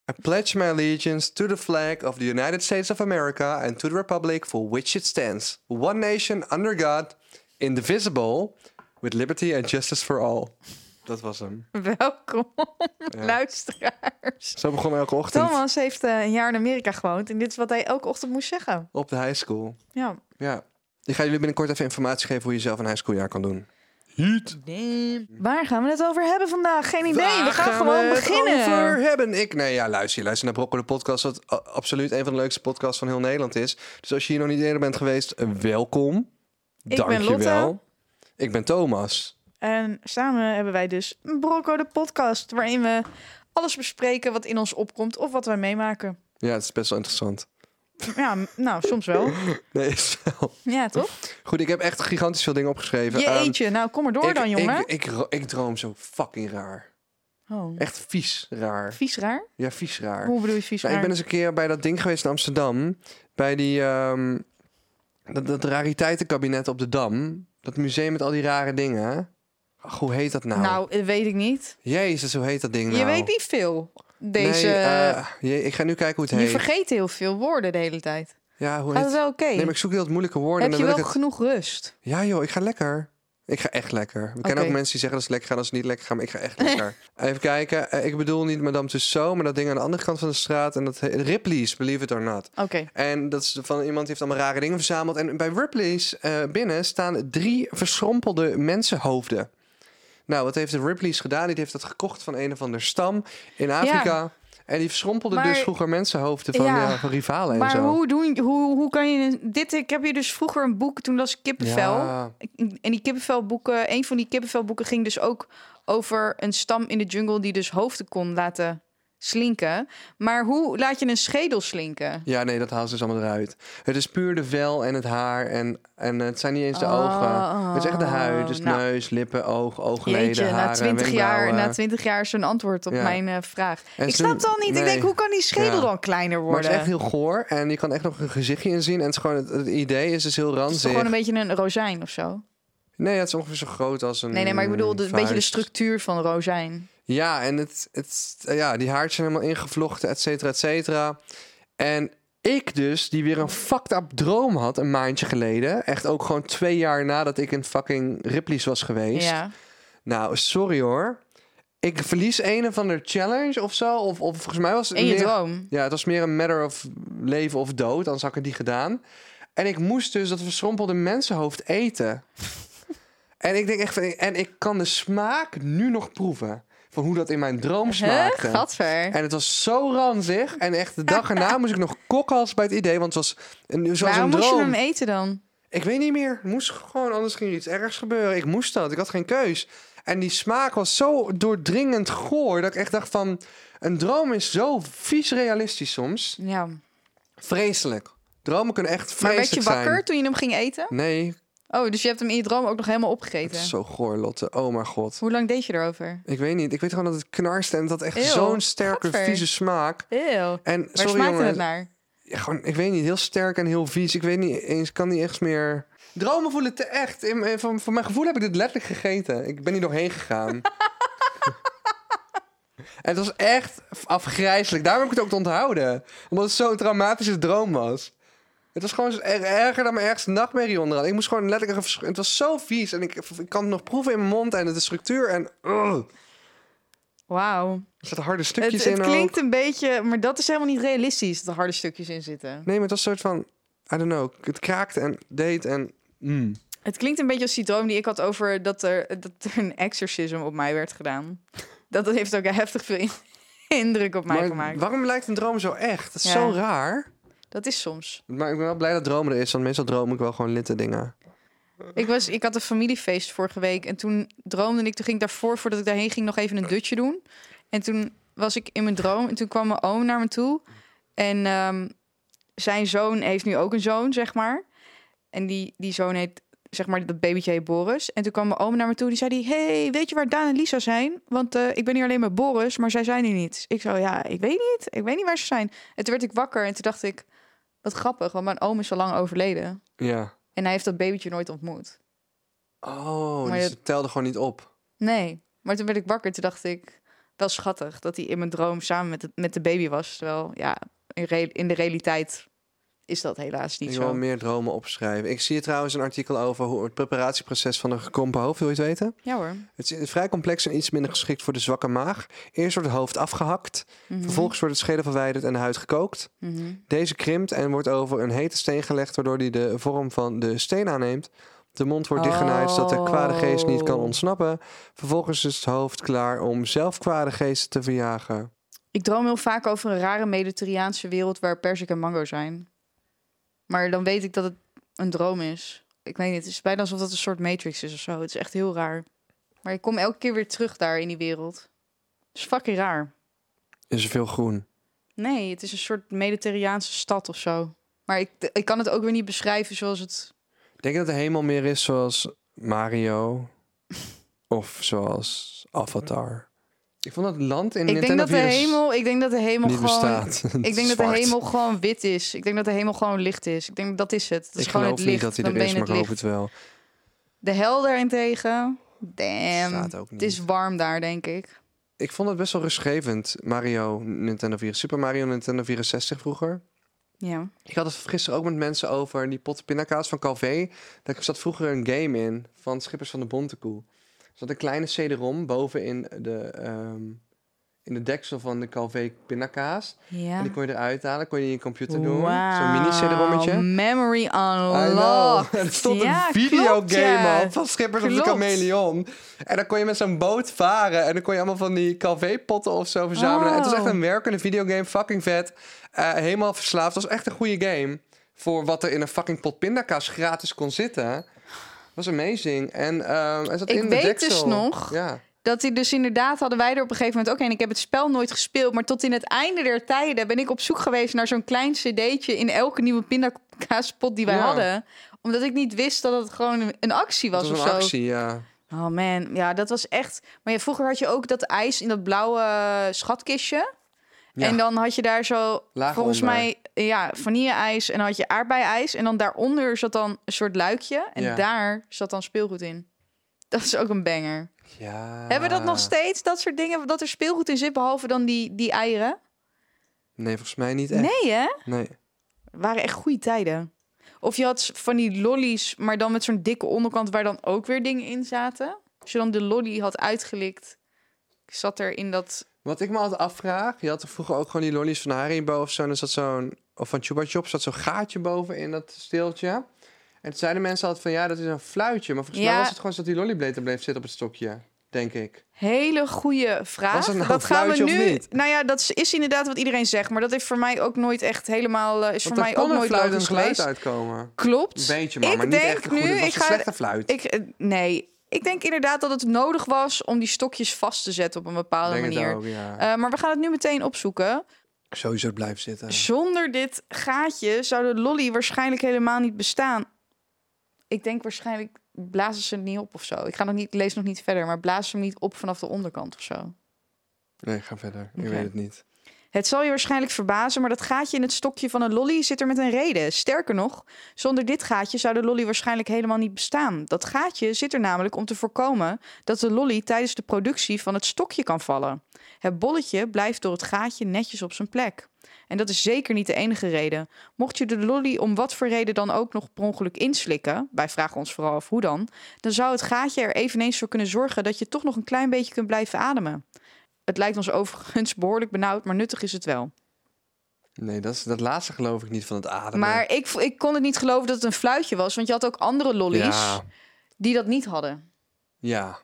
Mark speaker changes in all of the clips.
Speaker 1: I pledge my allegiance to the flag of the United States of America and to the republic for which it stands, one nation under God, indivisible, with liberty and justice for all. Dat was hem.
Speaker 2: Welkom, luisteraars.
Speaker 1: Zo begon elke ochtend
Speaker 2: Thomas heeft eh, een jaar in Amerika gewoond en dit is wat hij elke ochtend moest zeggen.
Speaker 1: op de high school.
Speaker 2: Ja.
Speaker 1: Ja. Ik ga jullie binnenkort even informatie geven hoe je zelf een high schooljaar kan doen.
Speaker 2: Waar gaan we het over hebben vandaag? Geen idee. we
Speaker 1: Waar
Speaker 2: gaan,
Speaker 1: we
Speaker 2: gewoon
Speaker 1: het
Speaker 2: beginnen.
Speaker 1: Over hebben ik. Nee, ja, luister, je luistert naar Brocco de podcast, wat a- absoluut een van de leukste podcasts van heel Nederland is. Dus als je hier nog niet eerder bent geweest, eh, welkom.
Speaker 2: ben
Speaker 1: Dank je
Speaker 2: Lotte.
Speaker 1: wel. Ik ben Thomas.
Speaker 2: En samen hebben wij dus Brocco de podcast, waarin we alles bespreken wat in ons opkomt of wat wij meemaken.
Speaker 1: Ja, het is best wel interessant.
Speaker 2: Ja, m- nou, soms wel.
Speaker 1: Nee, is wel.
Speaker 2: Ja, toch?
Speaker 1: Goed, ik heb echt gigantisch veel dingen opgeschreven.
Speaker 2: Je
Speaker 1: Ehm,
Speaker 2: eentje. Nou, kom maar door
Speaker 1: ik,
Speaker 2: dan, jongen.
Speaker 1: Ik, ik, ro- ik droom zo fucking raar.
Speaker 2: oh.
Speaker 1: Echt vies raar.
Speaker 2: Vies raar?
Speaker 1: Ja, vies raar.
Speaker 2: Hoe bedoel je vies
Speaker 1: Nou,
Speaker 2: raar?
Speaker 1: ik ben eens een keer bij dat ding geweest in Amsterdam. Bij die, ehm, dat, dat rariteitenkabinet op de Dam. Dat museum met al die rare dingen. Ach, hoe heet dat nou?
Speaker 2: nou, dat weet ik niet.
Speaker 1: Jezus, hoe heet dat ding nou?
Speaker 2: Je weet niet veel.
Speaker 1: Nee,
Speaker 2: Deze...
Speaker 1: eh, je- ik ga nu kijken hoe het
Speaker 2: Je
Speaker 1: heet.
Speaker 2: vergeet heel veel woorden de hele tijd.
Speaker 1: Ja, hoe
Speaker 2: Gaat
Speaker 1: heet
Speaker 2: het wel oké?
Speaker 1: Nee, maar ik zoek heel wat moeilijke woorden.
Speaker 2: Heb
Speaker 1: en
Speaker 2: je
Speaker 1: dan wil
Speaker 2: wel
Speaker 1: ik het...
Speaker 2: genoeg rust?
Speaker 1: Ja joh, ik ga lekker. Ik ga echt lekker. We kennen
Speaker 2: Oké.
Speaker 1: ook mensen die zeggen dat ze lekker gaan als ze niet lekker gaan. Maar ik ga echt lekker. Even kijken. Eh, ik bedoel niet Madame Tussauds, maar dat ding aan de andere kant van de straat. En dat heet Ripley's, believe it or not.
Speaker 2: Oké.
Speaker 1: En dat is van iemand die heeft allemaal rare dingen verzameld. En bij Ripley's eh, binnen staan drie verschrompelde mensenhoofden. Nou, wat heeft de Ripley's gedaan? Die heeft dat gekocht van een of ander stam in Afrika. En die verschrompelde
Speaker 2: Maar-
Speaker 1: dus vroeger mensenhoofden van,
Speaker 2: Ja.
Speaker 1: ja, van rivalen en
Speaker 2: Maar
Speaker 1: zo.
Speaker 2: hoe, doen, hoe, hoe kan je dit? Ik heb hier dus vroeger een boek, toen las ik kippenvel.
Speaker 1: Ja.
Speaker 2: Ik- En die kippenvelboeken, een van die kippenvelboeken ging dus ook over een stam in de jungle die dus hoofden kon laten slinken. Maar hoe laat je een schedel slinken?
Speaker 1: Ja, nee, dat haalt ze dus allemaal eruit. Het is puur de vel en het haar. En, en het zijn niet eens de
Speaker 2: Oh,
Speaker 1: ogen. Het is echt de huid. Dus
Speaker 2: nou.
Speaker 1: neus, lippen, oog, oogleden,
Speaker 2: Jeetje,
Speaker 1: haren,
Speaker 2: na 20 jaar,
Speaker 1: wenkbrauwen.
Speaker 2: na 20 jaar is een antwoord op
Speaker 1: Ja.
Speaker 2: mijn eh, vraag.
Speaker 1: En
Speaker 2: ik
Speaker 1: ze-
Speaker 2: snap het al niet.
Speaker 1: nee.
Speaker 2: Ik denk, hoe kan die schedel
Speaker 1: Ja.
Speaker 2: dan kleiner
Speaker 1: Maar het
Speaker 2: worden?
Speaker 1: is echt heel goor. En je kan echt nog een gezichtje in zien. En het, is gewoon, het, het idee is dus heel
Speaker 2: het is
Speaker 1: ranzig.
Speaker 2: toch gewoon een beetje een rozijn of zo?
Speaker 1: Nee, het is ongeveer zo groot als een.
Speaker 2: Nee, nee, maar ik bedoel de, een beetje de
Speaker 1: Mm, vuist.
Speaker 2: structuur van rozijn.
Speaker 1: Ja, en het, het, ja, die haartjes zijn helemaal ingevlochten, et cetera, et cetera. En ik dus, die weer een fucked up droom had een maandje geleden. Echt ook gewoon twee jaar nadat ik in fucking Ripley's was geweest.
Speaker 2: Ja.
Speaker 1: Nou, sorry hoor. Ik verlies een of ander challenge of zo. Of, of volgens mij was het
Speaker 2: In je
Speaker 1: meer-
Speaker 2: droom.
Speaker 1: Ja, het was meer een matter of leven of dood. Anders had ik het niet gedaan. En ik moest dus dat verschrompelde mensenhoofd eten. en ik denk echt van... En ik kan de smaak nu nog proeven. Van hoe dat in mijn droom
Speaker 2: Huh?
Speaker 1: smaakte.
Speaker 2: Gadver.
Speaker 1: En het was zo ranzig. En echt de dag erna moest ik nog kokhals bij het idee. Want het was een, zoals
Speaker 2: Waarom
Speaker 1: een
Speaker 2: moest je
Speaker 1: droom.
Speaker 2: hem eten dan?
Speaker 1: Ik weet niet meer. Het moest gewoon, anders ging er iets ergs gebeuren. Ik moest dat. Ik had geen keus. En die smaak was zo doordringend goor dat ik echt dacht van... Een droom is zo vies realistisch soms.
Speaker 2: Ja.
Speaker 1: Vreselijk. Dromen kunnen echt
Speaker 2: Maar
Speaker 1: vreselijk
Speaker 2: werd
Speaker 1: zijn.
Speaker 2: je wakker toen je hem ging eten?
Speaker 1: Nee,
Speaker 2: Oh, dus je hebt hem in je droom ook nog helemaal
Speaker 1: het
Speaker 2: opgegeten.
Speaker 1: is zo goor, Lotte. Oh mijn god.
Speaker 2: Hoe lang deed je erover?
Speaker 1: Ik weet niet. Ik weet gewoon dat het knarste en dat echt
Speaker 2: Eeuw,
Speaker 1: zo'n sterke,
Speaker 2: gadver.
Speaker 1: vieze smaak.
Speaker 2: Heel.
Speaker 1: En
Speaker 2: Waar
Speaker 1: sorry
Speaker 2: smaakte
Speaker 1: jongen,
Speaker 2: het naar?
Speaker 1: Ja, gewoon, ik weet niet, heel sterk en heel vies. Ik weet niet eens, ik kan niet echt meer... Dromen voelen te echt. In, in- van, van mijn gevoel heb ik dit letterlijk gegeten. Ik ben hier doorheen gegaan. en het was echt afgrijzelijk. Daarom heb ik het ook te onthouden. Omdat het zo'n traumatische droom was. Het was gewoon er- erger dan mijn ergste nachtmerrie onderaan. Ik moest gewoon letterlijk... een versch- Het was zo vies. En ik, ik kan het nog proeven in mijn mond. En de structuur. En ugh.
Speaker 2: Wauw.
Speaker 1: er zaten harde stukjes
Speaker 2: Het,
Speaker 1: in
Speaker 2: het
Speaker 1: ook.
Speaker 2: klinkt een beetje, maar dat is helemaal niet realistisch, dat er harde stukjes in zitten.
Speaker 1: Nee, maar het was een soort van... I don't know. Het kraakte en deed en... Mm.
Speaker 2: Het klinkt een beetje als die droom die ik had over dat er, dat er een exorcism op mij werd gedaan. Dat heeft ook heftig veel in- indruk op mij
Speaker 1: Maar
Speaker 2: gemaakt.
Speaker 1: Waarom lijkt een droom zo echt? Dat is
Speaker 2: Ja.
Speaker 1: zo raar.
Speaker 2: Dat is soms.
Speaker 1: Maar ik ben wel blij dat dromen er is, want meestal droom ik wel gewoon litte dingen.
Speaker 2: Ik, was, ik had een familiefeest vorige week en toen droomde ik. Toen ging ik daarvoor, voordat ik daarheen ging, nog even een dutje doen. En toen was ik in mijn droom en toen kwam mijn oom naar me toe. En ehm, zijn zoon heeft nu ook een zoon, zeg maar. En die, die zoon heet, zeg maar, dat babytje heet Boris. En toen kwam mijn oom naar me toe, die zei die... hey, weet je waar Daan en Lisa zijn? Want eh, ik ben hier alleen met Boris, maar zij zijn hier niet. Ik zo, ja, ik weet niet. Ik weet niet waar ze zijn. En toen werd ik wakker en toen dacht ik... Wat grappig, want mijn oom is al lang overleden.
Speaker 1: Ja.
Speaker 2: En hij heeft dat babytje nooit ontmoet.
Speaker 1: Oh,
Speaker 2: Maar
Speaker 1: dus
Speaker 2: je-
Speaker 1: het telde gewoon niet op.
Speaker 2: Nee, maar toen werd ik wakker. Toen dacht ik, wel schattig dat hij in mijn droom samen met de, met de baby was. Terwijl, ja, in, re- in de realiteit is dat helaas niet
Speaker 1: ik
Speaker 2: zo.
Speaker 1: wil meer dromen opschrijven. Ik zie hier trouwens een artikel over hoe het preparatieproces van een gekrompen hoofd. Wil je het weten?
Speaker 2: Ja hoor.
Speaker 1: Het is vrij complex en iets minder geschikt voor de zwakke maag. Eerst wordt het hoofd afgehakt.
Speaker 2: Mhm,
Speaker 1: Vervolgens wordt het schedel verwijderd en de huid gekookt.
Speaker 2: mhm.
Speaker 1: Deze krimpt en wordt over een hete steen gelegd, waardoor die de vorm van de steen aanneemt. De mond wordt dichtgenaaid zodat de kwade geest niet kan
Speaker 2: Oh.
Speaker 1: ontsnappen. Vervolgens is het hoofd klaar om zelf kwade geesten te verjagen.
Speaker 2: Ik droom heel vaak over een rare Mediterraanse wereld waar perzik en mango zijn. Maar dan weet ik dat het een droom is. Ik weet niet, het is bijna alsof dat een soort Matrix is of zo. Het is echt heel raar. Maar ik kom elke keer weer terug daar in die wereld. Het is fucking raar.
Speaker 1: Is er veel groen?
Speaker 2: Nee, het is een soort Mediterraanse stad of zo. Maar ik, ik kan het ook weer niet beschrijven zoals het...
Speaker 1: Ik denk dat de hemel meer is zoals Mario of zoals Avatar. Ik vond dat land in
Speaker 2: Ik denk
Speaker 1: Nintendo
Speaker 2: dat de
Speaker 1: virus
Speaker 2: hemel, ik denk dat de hemel
Speaker 1: niet
Speaker 2: gewoon...
Speaker 1: bestaat.
Speaker 2: Ik denk dat de hemel gewoon wit is. Ik denk dat de hemel gewoon licht is. Ik denk dat is het. Het is
Speaker 1: Ik
Speaker 2: gewoon
Speaker 1: geloof
Speaker 2: het licht.
Speaker 1: niet dat hij
Speaker 2: dan
Speaker 1: er
Speaker 2: ben
Speaker 1: is,
Speaker 2: je
Speaker 1: maar ik
Speaker 2: het
Speaker 1: hoop
Speaker 2: licht.
Speaker 1: het wel.
Speaker 2: De hel daarentegen. Damn.
Speaker 1: Staat ook niet.
Speaker 2: Het is warm daar, denk ik.
Speaker 1: Ik vond het best wel rustgevend, Mario Nintendo 4. Super Mario Nintendo 64 vroeger.
Speaker 2: Ja.
Speaker 1: Ik had het gisteren ook met mensen over die potten pindakaas van Calvé. Daar zat vroeger een game in van Schippers van de Bontekoe. Er zat een kleine CD-ROM boven in de, ehm, in de deksel van de Calvé pindakaas. En
Speaker 2: Ja.
Speaker 1: die kon je eruit halen, kon je in je computer doen. Zo'n
Speaker 2: Wauw.
Speaker 1: mini-CD-rommetje.
Speaker 2: Memory
Speaker 1: I
Speaker 2: unlocked.
Speaker 1: know. Er stond
Speaker 2: Ja,
Speaker 1: een
Speaker 2: klopt, ja.
Speaker 1: videogame op van Schippers op de
Speaker 2: Klopt.
Speaker 1: Chameleon. En dan kon je met zo'n boot varen. En dan kon je allemaal van die Calvé-potten of zo verzamelen. En het was
Speaker 2: Oh.
Speaker 1: echt een werkende videogame. Fucking vet. Eh, helemaal verslaafd. Het was echt een goede game. Voor wat er in een fucking pot pindakaas gratis kon zitten. was amazing. En ehm hij zat
Speaker 2: Ik
Speaker 1: in de
Speaker 2: weet
Speaker 1: deksel.
Speaker 2: dus nog.
Speaker 1: Ja.
Speaker 2: Dat hij dus inderdaad hadden wij er op een gegeven moment ook een. Ik heb het spel nooit gespeeld, maar tot in het einde der tijden ben ik op zoek geweest naar zo'n klein cd'tje in elke nieuwe pindakaaspot die wij
Speaker 1: Ja.
Speaker 2: hadden. Omdat ik niet wist dat het gewoon een- een actie was
Speaker 1: Het was
Speaker 2: of
Speaker 1: een
Speaker 2: zo.
Speaker 1: actie, ja.
Speaker 2: Oh man, ja, dat was echt. Maar ja, vroeger had je ook dat ijs in dat blauwe eh, schatkistje.
Speaker 1: Ja.
Speaker 2: En dan had je daar zo,
Speaker 1: Laag
Speaker 2: volgens
Speaker 1: onder.
Speaker 2: mij, ja, vanille-ijs. En dan had je aardbei-ijs. En dan daaronder zat dan een soort luikje. En
Speaker 1: Ja.
Speaker 2: daar zat dan speelgoed in. Dat is ook een banger.
Speaker 1: ja.
Speaker 2: Hebben we dat
Speaker 1: Ah.
Speaker 2: nog steeds, dat soort dingen, dat er speelgoed in zit, behalve dan die, die eieren?
Speaker 1: Nee, volgens mij niet echt.
Speaker 2: Nee, hè?
Speaker 1: nee.
Speaker 2: waren echt goede tijden. Of je had van die lollies, maar dan met zo'n dikke onderkant waar dan ook weer dingen in zaten. Als je dan de lolly had uitgelikt, zat er in dat...
Speaker 1: Wat ik me altijd afvraag, je had er vroeger ook gewoon die lollies van Haribo of zo, en er zat zo'n, of van Chupa Chups, zat zo'n gaatje boven in dat steeltje. En toen zeiden mensen altijd van, ja, dat is een fluitje. Maar volgens
Speaker 2: Ja.
Speaker 1: mij was het gewoon zo dat die lollyblader bleef zitten op het stokje, denk ik.
Speaker 2: Hele goede vraag.
Speaker 1: Was dat nou een
Speaker 2: gaan we
Speaker 1: fluitje of
Speaker 2: nu.
Speaker 1: niet?
Speaker 2: Nou ja, dat is, is inderdaad wat iedereen zegt, maar dat heeft voor mij ook nooit echt helemaal eh, is voor
Speaker 1: Want
Speaker 2: mij
Speaker 1: daar
Speaker 2: ook
Speaker 1: kon een
Speaker 2: nooit
Speaker 1: fluit en
Speaker 2: logisch
Speaker 1: geluid
Speaker 2: geweest.
Speaker 1: uitkomen.
Speaker 2: Klopt.
Speaker 1: Een beetje, maar,
Speaker 2: Ik
Speaker 1: maar niet
Speaker 2: denk
Speaker 1: echt een goede,
Speaker 2: nu,
Speaker 1: het was
Speaker 2: ik
Speaker 1: een
Speaker 2: ga-
Speaker 1: slechte fluit.
Speaker 2: Ik, eh, nee, ik denk inderdaad dat het nodig was om die stokjes vast te zetten op een bepaalde
Speaker 1: denk het
Speaker 2: manier.
Speaker 1: ook, ja.
Speaker 2: Eh, maar we gaan het nu meteen opzoeken.
Speaker 1: Sowieso blijft zitten.
Speaker 2: Zonder dit gaatje zou de lolly waarschijnlijk helemaal niet bestaan. Ik denk waarschijnlijk blazen ze het niet op of zo. Ik ga nog niet, lees nog niet verder, maar blazen ze hem niet op vanaf de onderkant of zo.
Speaker 1: Nee, ga verder.
Speaker 2: Oké.
Speaker 1: Ik weet het niet.
Speaker 2: Het zal je waarschijnlijk verbazen, maar dat gaatje in het stokje van een lolly zit er met een reden. Sterker nog, zonder dit gaatje zou de lolly waarschijnlijk helemaal niet bestaan. Dat gaatje zit er namelijk om te voorkomen dat de lolly tijdens de productie van het stokje kan vallen. Het bolletje blijft door het gaatje netjes op zijn plek. En dat is zeker niet de enige reden. Mocht je de lolly om wat voor reden dan ook nog per ongeluk inslikken, wij vragen ons vooral af hoe dan, dan zou het gaatje er eveneens voor kunnen zorgen dat je toch nog een klein beetje kunt blijven ademen. Het lijkt ons overigens behoorlijk benauwd, maar nuttig is het wel.
Speaker 1: Nee, dat, is, dat laatste geloof ik niet van het ademen.
Speaker 2: Maar ik, vo- ik kon het niet geloven dat het een fluitje was, want je had ook andere lollies
Speaker 1: Ja.
Speaker 2: die dat niet hadden.
Speaker 1: Ja.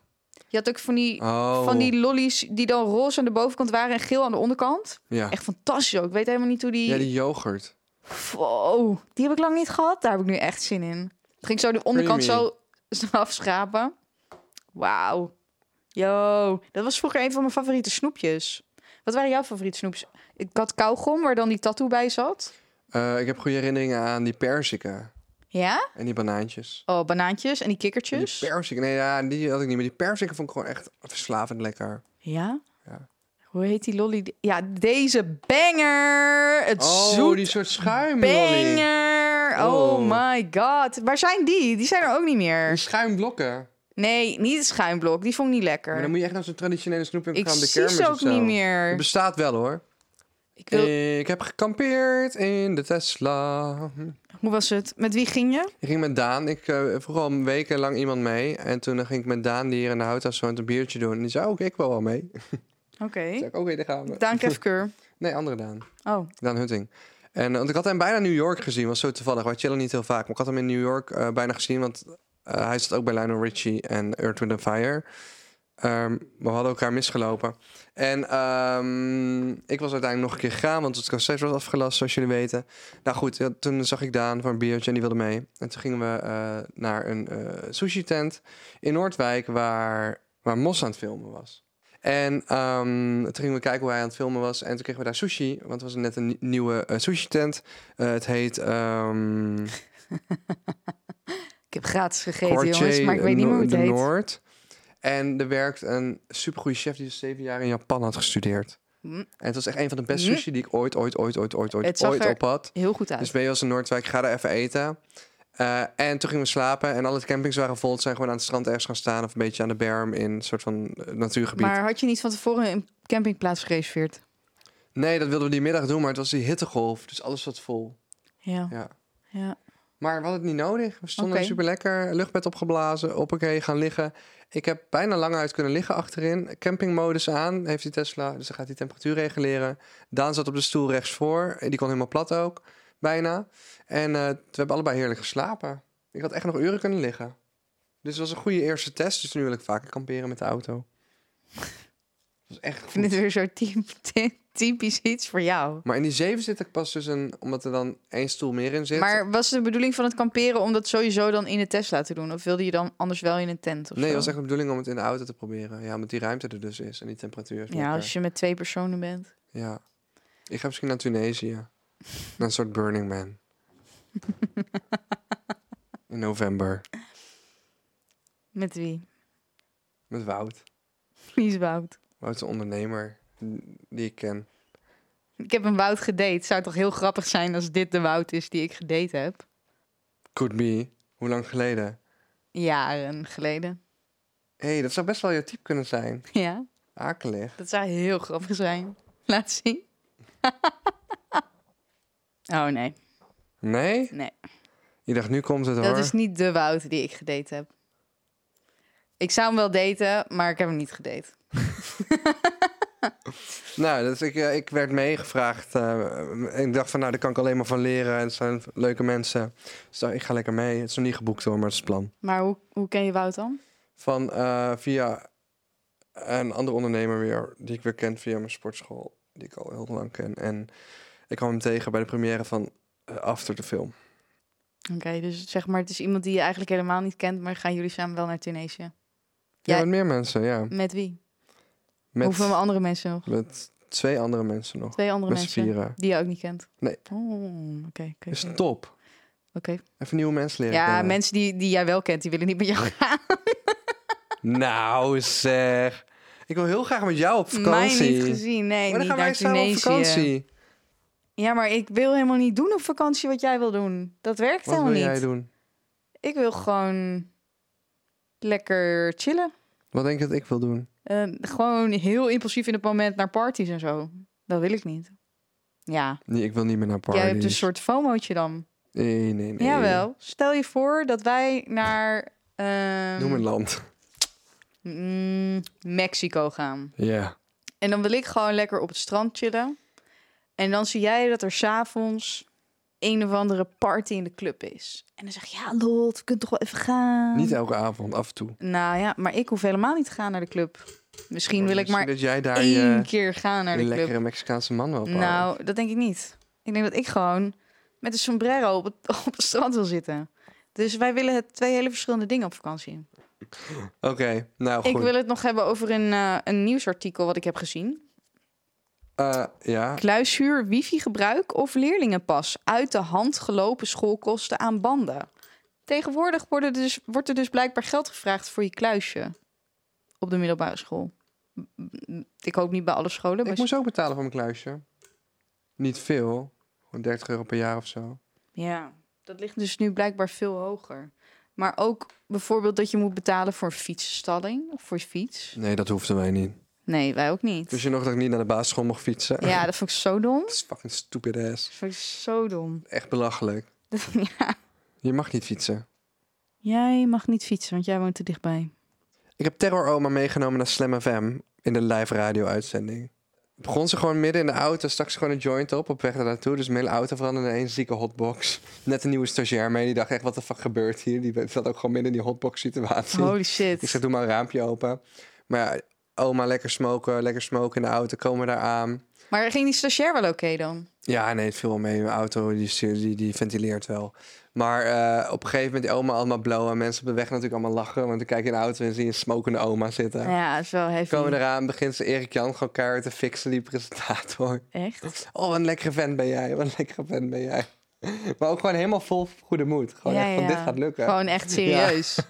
Speaker 2: Je had ook van die,
Speaker 1: Oh.
Speaker 2: van die lollies die dan roze aan de bovenkant waren en geel aan de onderkant.
Speaker 1: Ja.
Speaker 2: Echt fantastisch ook. Ik weet helemaal niet hoe die...
Speaker 1: ja, die yoghurt.
Speaker 2: Wow, die heb ik lang niet gehad. Daar heb ik nu echt zin in. Dan ging ik zo de onderkant
Speaker 1: Creamy.
Speaker 2: zo afschrapen. Wauw. Yo, dat was vroeger een van mijn favoriete snoepjes. Wat waren jouw favoriete snoepjes? Ik had kauwgom, waar dan die tattoo bij zat.
Speaker 1: Eh, ik heb goede herinneringen aan die perziken
Speaker 2: Ja?
Speaker 1: en die banaantjes.
Speaker 2: Oh, banaantjes en die
Speaker 1: Die
Speaker 2: kikkertjes.
Speaker 1: perziken, nee, ja, die had ik niet meer. Die perziken vond ik gewoon echt verslavend lekker.
Speaker 2: Ja?
Speaker 1: Ja.
Speaker 2: Hoe heet die lolly? Ja, deze banger! Het
Speaker 1: Oh,
Speaker 2: zoet
Speaker 1: die soort schuimlolly.
Speaker 2: banger! Oh.
Speaker 1: Oh.
Speaker 2: my god. Waar zijn die? Die zijn er ook niet
Speaker 1: Die
Speaker 2: meer.
Speaker 1: schuimblokken.
Speaker 2: Nee, niet het schuimblok. Die vond ik niet
Speaker 1: Maar dan
Speaker 2: lekker.
Speaker 1: moet je echt naar zo'n traditionele snoepwinkel
Speaker 2: Ik
Speaker 1: gaan. op De
Speaker 2: zie
Speaker 1: kermis
Speaker 2: ze
Speaker 1: of
Speaker 2: ook
Speaker 1: zo.
Speaker 2: niet
Speaker 1: Het
Speaker 2: meer.
Speaker 1: bestaat wel hoor.
Speaker 2: Ik wil...
Speaker 1: Ik heb gekampeerd in de Tesla.
Speaker 2: Hoe was het? Met wie ging je?
Speaker 1: Ik ging met Daan. Ik eh, vroeg al wekenlang iemand mee. En toen eh, ging ik met Daan, die hier in de houthuis woont, een biertje doen. En die zei, ook ik wil wel mee. Toen
Speaker 2: Oké.
Speaker 1: zei ik, oké, daar gaan we.
Speaker 2: Dank Keur.
Speaker 1: Nee, andere Daan.
Speaker 2: Oh,
Speaker 1: Daan Hunting. En eh, want ik had hem bijna in New York gezien. was zo toevallig. Wij chillen niet heel vaak. Maar ik had hem in New York eh, bijna gezien. Want eh, hij zat ook bij Lionel Richie en Earth, Wind and Fire. Ehm, maar we hadden elkaar misgelopen. En ehm, ik was uiteindelijk nog een keer gegaan, want het concert was afgelast, zoals jullie weten. Nou goed, ja, toen zag ik Daan voor een biertje en die wilde mee. En toen gingen we eh, naar een sushi-tent in Noordwijk, waar, waar Mos aan het filmen was. En ehm, toen gingen we kijken hoe hij aan het filmen was. En toen kregen we daar sushi, want het was net een nie- nieuwe eh, sushi-tent. Eh, het heet... ehm
Speaker 2: ik heb gratis gegeten, jongens,
Speaker 1: Quartier
Speaker 2: maar ik weet niet meer hoe het
Speaker 1: eh, de
Speaker 2: heet.
Speaker 1: Noord. En er werkt een supergoeie chef die zeven jaar in Japan had gestudeerd.
Speaker 2: Hm.
Speaker 1: En het was echt een van de beste
Speaker 2: Hm.
Speaker 1: sushi die ik ooit, ooit, ooit, ooit, ooit,
Speaker 2: Het
Speaker 1: ooit,
Speaker 2: zag
Speaker 1: ooit
Speaker 2: er
Speaker 1: op had.
Speaker 2: Heel goed uit.
Speaker 1: Dus ben je als in Noordwijk, ga daar even eten. Eh, en toen gingen we slapen en alle campings waren vol. Ze zijn gewoon aan het strand ergens gaan staan of een beetje aan de berm in een soort van eh, natuurgebied.
Speaker 2: maar had je niet van tevoren een campingplaats gereserveerd?
Speaker 1: Nee, dat wilden we die middag doen, maar het was die hittegolf. Dus alles zat vol.
Speaker 2: Ja.
Speaker 1: Ja.
Speaker 2: ja.
Speaker 1: Maar we hadden het niet nodig. We stonden
Speaker 2: Oké.
Speaker 1: super lekker, luchtbed opgeblazen, oké, gaan liggen. Ik heb bijna lang uit kunnen liggen achterin. Campingmodus aan, heeft die Tesla, dus dan gaat die temperatuur reguleren. Daan zat op de stoel rechtsvoor, die kon helemaal plat ook, bijna. En eh, we hebben allebei heerlijk geslapen. Ik had echt nog uren kunnen liggen. Dus het was een goede eerste test, dus nu wil ik vaker kamperen met de auto. Dat was echt
Speaker 2: Ik vind
Speaker 1: goed.
Speaker 2: het weer zo typ- ty- typisch iets voor jou.
Speaker 1: Maar in die zeven zit ik pas dus een, omdat er dan één stoel meer in zit.
Speaker 2: Maar was de bedoeling van het kamperen om dat sowieso dan in de Tesla te doen? Of wilde je dan anders wel in een tent of
Speaker 1: Nee,
Speaker 2: zo?
Speaker 1: het was echt de bedoeling om het in de auto te proberen. Ja, omdat die ruimte er dus is en die temperatuur is
Speaker 2: Ja,
Speaker 1: lekker.
Speaker 2: als je met twee personen bent.
Speaker 1: Ja. Ik ga misschien naar Tunesië. Naar een soort Burning Man. in november.
Speaker 2: Met wie?
Speaker 1: Met Wout.
Speaker 2: Wie is Wout?
Speaker 1: Wout is een ondernemer die ik ken.
Speaker 2: Ik heb een Wout gedate. zou toch heel grappig zijn als dit de Wout is die ik gedate heb?
Speaker 1: Could be. Hoe lang geleden?
Speaker 2: Jaren geleden.
Speaker 1: Hé, hey, dat zou best wel je type kunnen zijn.
Speaker 2: Ja,
Speaker 1: Akelig.
Speaker 2: dat zou heel grappig zijn. Laat zien. oh nee,
Speaker 1: Nee?
Speaker 2: nee.
Speaker 1: Je dacht, nu komt het hoor.
Speaker 2: Dat is niet de Wout die ik gedate heb. Ik zou hem wel daten, maar ik heb hem niet gedate.
Speaker 1: Nou, dus ik, eh, ik werd meegevraagd. eh, ik dacht van, nou, daar kan ik alleen maar van leren. En het zijn leuke mensen. Dus ik dacht, ik ga lekker mee. Het is nog niet geboekt hoor, maar het is het plan.
Speaker 2: Maar hoe, hoe ken je Wout dan?
Speaker 1: Van eh, via een andere ondernemer weer, die ik weer ken via mijn sportschool, die ik al heel lang ken. En ik kwam hem tegen bij de première van eh, After de film.
Speaker 2: Oké, dus zeg maar, het is iemand die je eigenlijk helemaal niet kent, maar gaan jullie samen wel naar Tunesië?
Speaker 1: Ja,
Speaker 2: Ja.
Speaker 1: met meer mensen, ja.
Speaker 2: Met wie? Hoeveel
Speaker 1: Met,
Speaker 2: andere mensen nog?
Speaker 1: met twee andere mensen nog.
Speaker 2: Twee andere
Speaker 1: Met z'n
Speaker 2: mensen
Speaker 1: vieren.
Speaker 2: die je ook niet kent?
Speaker 1: Nee. Dus-
Speaker 2: Oh, oké. oké,
Speaker 1: Is
Speaker 2: oké.
Speaker 1: top.
Speaker 2: Oké.
Speaker 1: Even nieuwe mensen leren
Speaker 2: Ja,
Speaker 1: kennen.
Speaker 2: mensen die, die jij wel kent, die willen niet met jou gaan.
Speaker 1: Nou zeg. Ik wil heel graag met jou op
Speaker 2: Mij
Speaker 1: vakantie.
Speaker 2: niet gezien, nee,
Speaker 1: maar dan
Speaker 2: niet
Speaker 1: gaan
Speaker 2: naar
Speaker 1: wij samen op
Speaker 2: Tunesië.
Speaker 1: vakantie.
Speaker 2: Ja, maar ik wil helemaal niet doen op vakantie wat jij wil doen. Dat werkt
Speaker 1: Wat wil
Speaker 2: helemaal
Speaker 1: jij
Speaker 2: niet.
Speaker 1: doen?
Speaker 2: Ik wil gewoon lekker chillen.
Speaker 1: Wat denk je dat ik wil doen?
Speaker 2: Eh, gewoon heel impulsief in het moment naar parties en zo. Dat wil ik niet. Ja,
Speaker 1: Nee, ik wil niet meer naar parties.
Speaker 2: jij hebt een soort FOMO'tje dan.
Speaker 1: Nee, nee, nee.
Speaker 2: Jawel. Stel je voor dat wij naar ehm,
Speaker 1: Noem een land.
Speaker 2: mm, Mexico gaan.
Speaker 1: Ja.
Speaker 2: En dan wil ik gewoon lekker op het strand chillen. En dan zie jij dat er s'avonds een of andere party in de club is. En dan zeg je, ja Lot, we kunnen toch wel even gaan?
Speaker 1: Niet elke avond, af en toe.
Speaker 2: Nou ja, maar ik hoef helemaal niet te gaan naar de club. Misschien
Speaker 1: Maar
Speaker 2: wil ik maar
Speaker 1: Oh, dus dat jij daar eh, je,
Speaker 2: één keer gaan naar
Speaker 1: je
Speaker 2: de
Speaker 1: lekkere
Speaker 2: club.
Speaker 1: Mexicaanse man wel op houdt.
Speaker 2: Nou, dat denk ik niet. Ik denk dat ik gewoon met een sombrero op het, op het strand wil zitten. Dus wij willen het twee hele verschillende dingen op vakantie.
Speaker 1: Oké, nou goed.
Speaker 2: Ik wil het nog hebben over een, eh, een nieuwsartikel wat ik heb gezien.
Speaker 1: Eh, ja.
Speaker 2: Kluishuur, wifi-gebruik of leerlingenpas. Uit de hand gelopen schoolkosten aan banden. Tegenwoordig worden dus, wordt er dus blijkbaar geld gevraagd voor je kluisje. Op de middelbare school. Ik hoop niet bij alle scholen.
Speaker 1: Ik
Speaker 2: maar-
Speaker 1: moest ook betalen voor mijn kluisje. Niet veel. Gewoon 30 euro per jaar of zo.
Speaker 2: Ja, dat ligt dus nu blijkbaar veel hoger. Maar ook bijvoorbeeld dat je moet betalen voor een fietsenstalling of voor je fiets.
Speaker 1: Nee, dat hoefden wij niet.
Speaker 2: Nee, wij ook niet.
Speaker 1: Wist je nog dat ik niet naar de basisschool mocht fietsen?
Speaker 2: Ja, dat vond ik zo dom.
Speaker 1: Dat is fucking stupid ass.
Speaker 2: Dat vond ik zo dom.
Speaker 1: Echt belachelijk.
Speaker 2: ja.
Speaker 1: Je mag niet fietsen.
Speaker 2: Jij mag niet fietsen, want jij woont te dichtbij.
Speaker 1: Ik heb Terror Oma meegenomen naar Slam FM in de live radio uitzending. Begon ze gewoon midden in de auto, stak ze gewoon een joint op op weg daar naartoe. Dus mijn hele auto veranderde in een zieke hotbox. Net een nieuwe stagiair mee, die dacht echt, wat de fuck gebeurt hier? Die zat ook gewoon midden in die hotbox situatie.
Speaker 2: Holy
Speaker 1: Ik zeg,
Speaker 2: shit.
Speaker 1: doe maar een raampje open. Maar ja, oma, lekker smoken, lekker smoken in de auto, komen we daar aan.
Speaker 2: Maar ging die stagiair wel oké dan?
Speaker 1: Ja, nee, het viel wel mee. Mijn auto die, stuur- die, die ventileert wel. Maar eh, op een gegeven moment, die oma allemaal blowen. Mensen op de weg natuurlijk allemaal lachen. Want dan kijk je in de auto en zie je een smokende oma zitten.
Speaker 2: Ja, dat is wel heavy.
Speaker 1: Komen eraan, begint ze Erik Jan gewoon keihard te fixen, die presentator.
Speaker 2: Echt?
Speaker 1: Oh, wat een lekkere vent ben jij, wat een lekkere vent ben jij. Maar ook gewoon helemaal vol goede moed. Gewoon
Speaker 2: Ja,
Speaker 1: echt van,
Speaker 2: ja.
Speaker 1: dit gaat lukken.
Speaker 2: Gewoon echt serieus.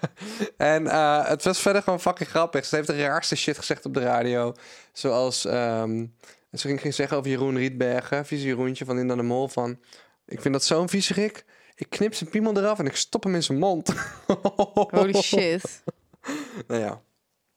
Speaker 1: En eh, het was verder gewoon fucking grappig. Ze heeft de raarste shit gezegd op de radio. Zoals ehm, ze ging, ging zeggen over Jeroen Rietbergen, vieze Jeroentje van Linda de Mol. Van, ik vind dat zo'n vieze gek. Ik knip zijn piemel eraf en ik stop hem in zijn mond.
Speaker 2: Holy shit.
Speaker 1: Nou ja.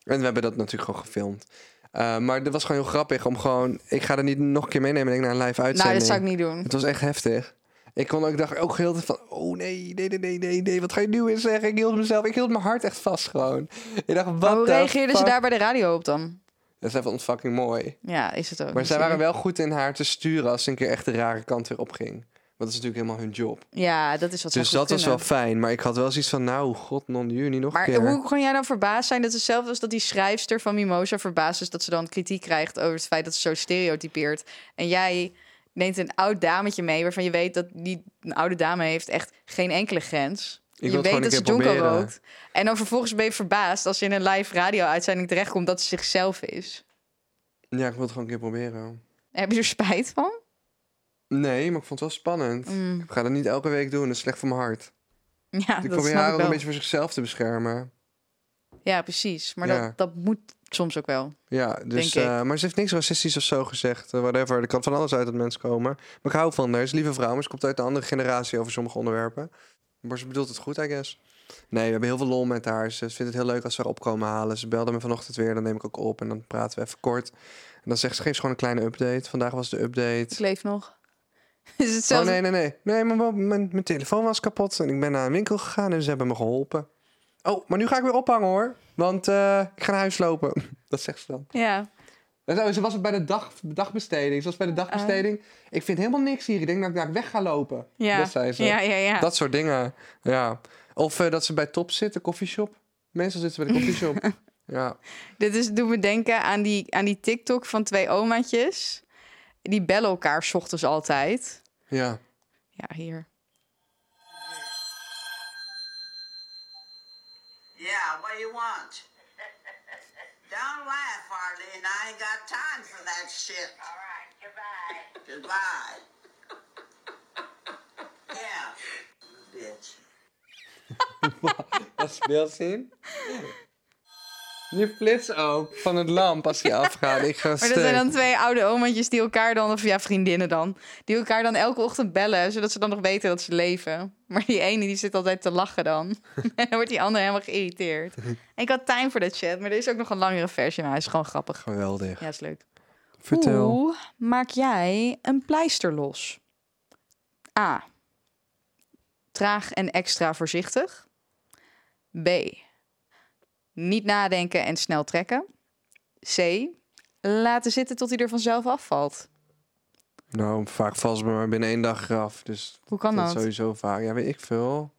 Speaker 1: En we hebben dat natuurlijk gewoon gefilmd. Eh, maar dat was gewoon heel grappig om gewoon... Ik ga er niet nog een keer meenemen denk ik, naar een live uitzending.
Speaker 2: Nou, dat zou ik niet doen.
Speaker 1: Het was echt heftig. Ik kon ook, ik dacht ook heel de tijd van, oh nee, nee, nee, nee, nee, nee, wat ga je nu weer zeggen? Ik hield mezelf, ik hield mijn hart echt vast gewoon. Ik dacht, wat
Speaker 2: Maar hoe
Speaker 1: the
Speaker 2: reageerden ze
Speaker 1: fuck?
Speaker 2: daar bij de radio op dan?
Speaker 1: Dat is even fucking mooi.
Speaker 2: Ja, is het ook.
Speaker 1: Maar zij
Speaker 2: natuurlijk.
Speaker 1: waren wel goed in haar te sturen als ze een keer echt de rare kant weer opging. Want dat is natuurlijk helemaal hun job.
Speaker 2: Ja, dat is wat
Speaker 1: dus
Speaker 2: ze
Speaker 1: dat was wel fijn, maar ik had wel zoiets van, nou, god, non juni nog
Speaker 2: Maar
Speaker 1: een keer.
Speaker 2: hoe kon jij dan verbaasd zijn dat hetzelfde als dat die schrijfster van Mimosa verbaasd is dat ze dan kritiek krijgt over het feit dat ze zo stereotypeert. En jij neemt een oud dametje mee waarvan je weet dat die een oude dame heeft echt geen enkele grens.
Speaker 1: wil
Speaker 2: je
Speaker 1: het gewoon
Speaker 2: weet
Speaker 1: een
Speaker 2: dat ze
Speaker 1: keer
Speaker 2: jonko
Speaker 1: proberen.
Speaker 2: rookt. En dan vervolgens ben je verbaasd als je in een live radio-uitzending terechtkomt dat ze zichzelf is.
Speaker 1: Ja, ik wil het gewoon een keer proberen.
Speaker 2: Heb je er spijt van?
Speaker 1: Nee, maar ik vond het wel spannend.
Speaker 2: Mm.
Speaker 1: Ik ga dat niet elke week doen, dat is slecht voor mijn hart.
Speaker 2: Ja,
Speaker 1: ik
Speaker 2: dat
Speaker 1: probeer
Speaker 2: snap
Speaker 1: haar
Speaker 2: ik
Speaker 1: ook een
Speaker 2: wel.
Speaker 1: beetje voor zichzelf te beschermen.
Speaker 2: Ja, precies. Maar
Speaker 1: Ja.
Speaker 2: dat, dat moet soms ook wel.
Speaker 1: Ja, dus,
Speaker 2: Denk ik.
Speaker 1: eh, maar ze heeft niks racistisch of zo gezegd. eh, whatever. Er kan van alles uit dat mensen komen. Maar ik hou van haar. Ze is een lieve vrouw, maar ze komt uit een andere generatie over sommige onderwerpen. Maar ze bedoelt het goed, I guess. Nee, we hebben heel veel lol met haar. Ze vindt het heel leuk als we haar opkomen halen. Ze belde me vanochtend weer, dan neem ik ook op en dan praten we even kort. En dan zegt ze, geef ze gewoon een kleine update. Vandaag was de update.
Speaker 2: Ik leef nog. Is het
Speaker 1: Oh
Speaker 2: zelfs...
Speaker 1: nee, nee, nee. Nee, maar mijn, mijn, mijn telefoon was kapot en ik ben naar een winkel gegaan en ze hebben me geholpen. Oh, maar nu ga ik weer ophangen hoor. Want eh, ik ga naar huis lopen. Dat zegt ze dan.
Speaker 2: Ja.
Speaker 1: En zo, Ze was bij de dag, dagbesteding. Ze was bij de dagbesteding. Ik vind helemaal niks hier. Ik denk dat ik daar weg ga lopen.
Speaker 2: Ja.
Speaker 1: Dat zei ze.
Speaker 2: Ja, ja, ja.
Speaker 1: Dat soort dingen. Ja. Of eh, dat ze bij Top zit, de koffieshop. Meestal zitten ze bij de koffieshop. ja.
Speaker 2: Dit is, doet me denken aan die, aan die TikTok van twee omaatjes. Die bellen elkaar 's ochtends altijd.
Speaker 1: Ja.
Speaker 2: Ja, hier.
Speaker 3: Yeah, what do you want? Don't laugh, Arlene. I ain't got time for that shit. All right, goodbye. Goodbye. yeah. Bitch.
Speaker 1: Dat speelt zien. Je flits ook van het lamp als die afgaat. Ik ga
Speaker 2: Maar dat zijn
Speaker 1: stuk.
Speaker 2: dan twee oude omaatjes die elkaar dan, of ja, vriendinnen dan, die elkaar dan elke ochtend bellen, zodat ze dan nog weten dat ze leven. Maar die ene die zit altijd te lachen dan. en dan wordt die andere helemaal geïrriteerd. Ik had tijd voor dat chat, maar er is ook nog een langere versie, maar hij is gewoon grappig.
Speaker 1: Geweldig.
Speaker 2: Ja, is leuk.
Speaker 1: Vertel.
Speaker 2: Hoe maak jij een pleister los? A. Traag en extra voorzichtig. B. Niet nadenken en snel trekken. C. Laten zitten tot hij er vanzelf afvalt.
Speaker 1: Nou, vaak valt ze me maar binnen één dag graf. Dus
Speaker 2: Hoe kan
Speaker 1: dat
Speaker 2: dat?
Speaker 1: sowieso vaak. Ja, weet ik veel.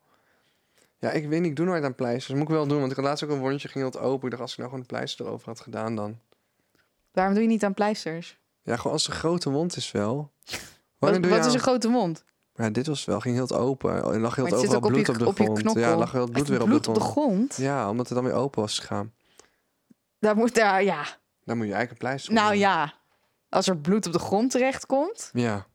Speaker 1: Ja, ik weet niet. Ik doe nooit aan pleisters. Moet ik wel doen, want ik had laatst ook een wondje ging heel open. Ik dacht, als ik nou gewoon een pleister erover had gedaan dan.
Speaker 2: Waarom doe je niet aan pleisters?
Speaker 1: Ja, gewoon als het een grote wond is wel.
Speaker 2: Wat,
Speaker 1: Wanneer doe
Speaker 2: wat
Speaker 1: je
Speaker 2: is
Speaker 1: aan-
Speaker 2: een grote mond?
Speaker 1: Ja, dit was wel. Ging heel het open. Er lag heel
Speaker 2: Maar
Speaker 1: het
Speaker 2: het zit
Speaker 1: overal
Speaker 2: ook op
Speaker 1: bloed
Speaker 2: je-
Speaker 1: op de
Speaker 2: op je
Speaker 1: grond.
Speaker 2: knokkel.
Speaker 1: Ja, er lag heel het bloed weer op
Speaker 2: bloed
Speaker 1: de
Speaker 2: op de
Speaker 1: grond.
Speaker 2: grond?
Speaker 1: Ja, omdat het dan weer open was gegaan.
Speaker 2: Daar moet daar, ja.
Speaker 1: Dan moet je eigenlijk een pleister
Speaker 2: Nou
Speaker 1: onder.
Speaker 2: ja. Als er bloed op de grond terechtkomt.
Speaker 1: Ja.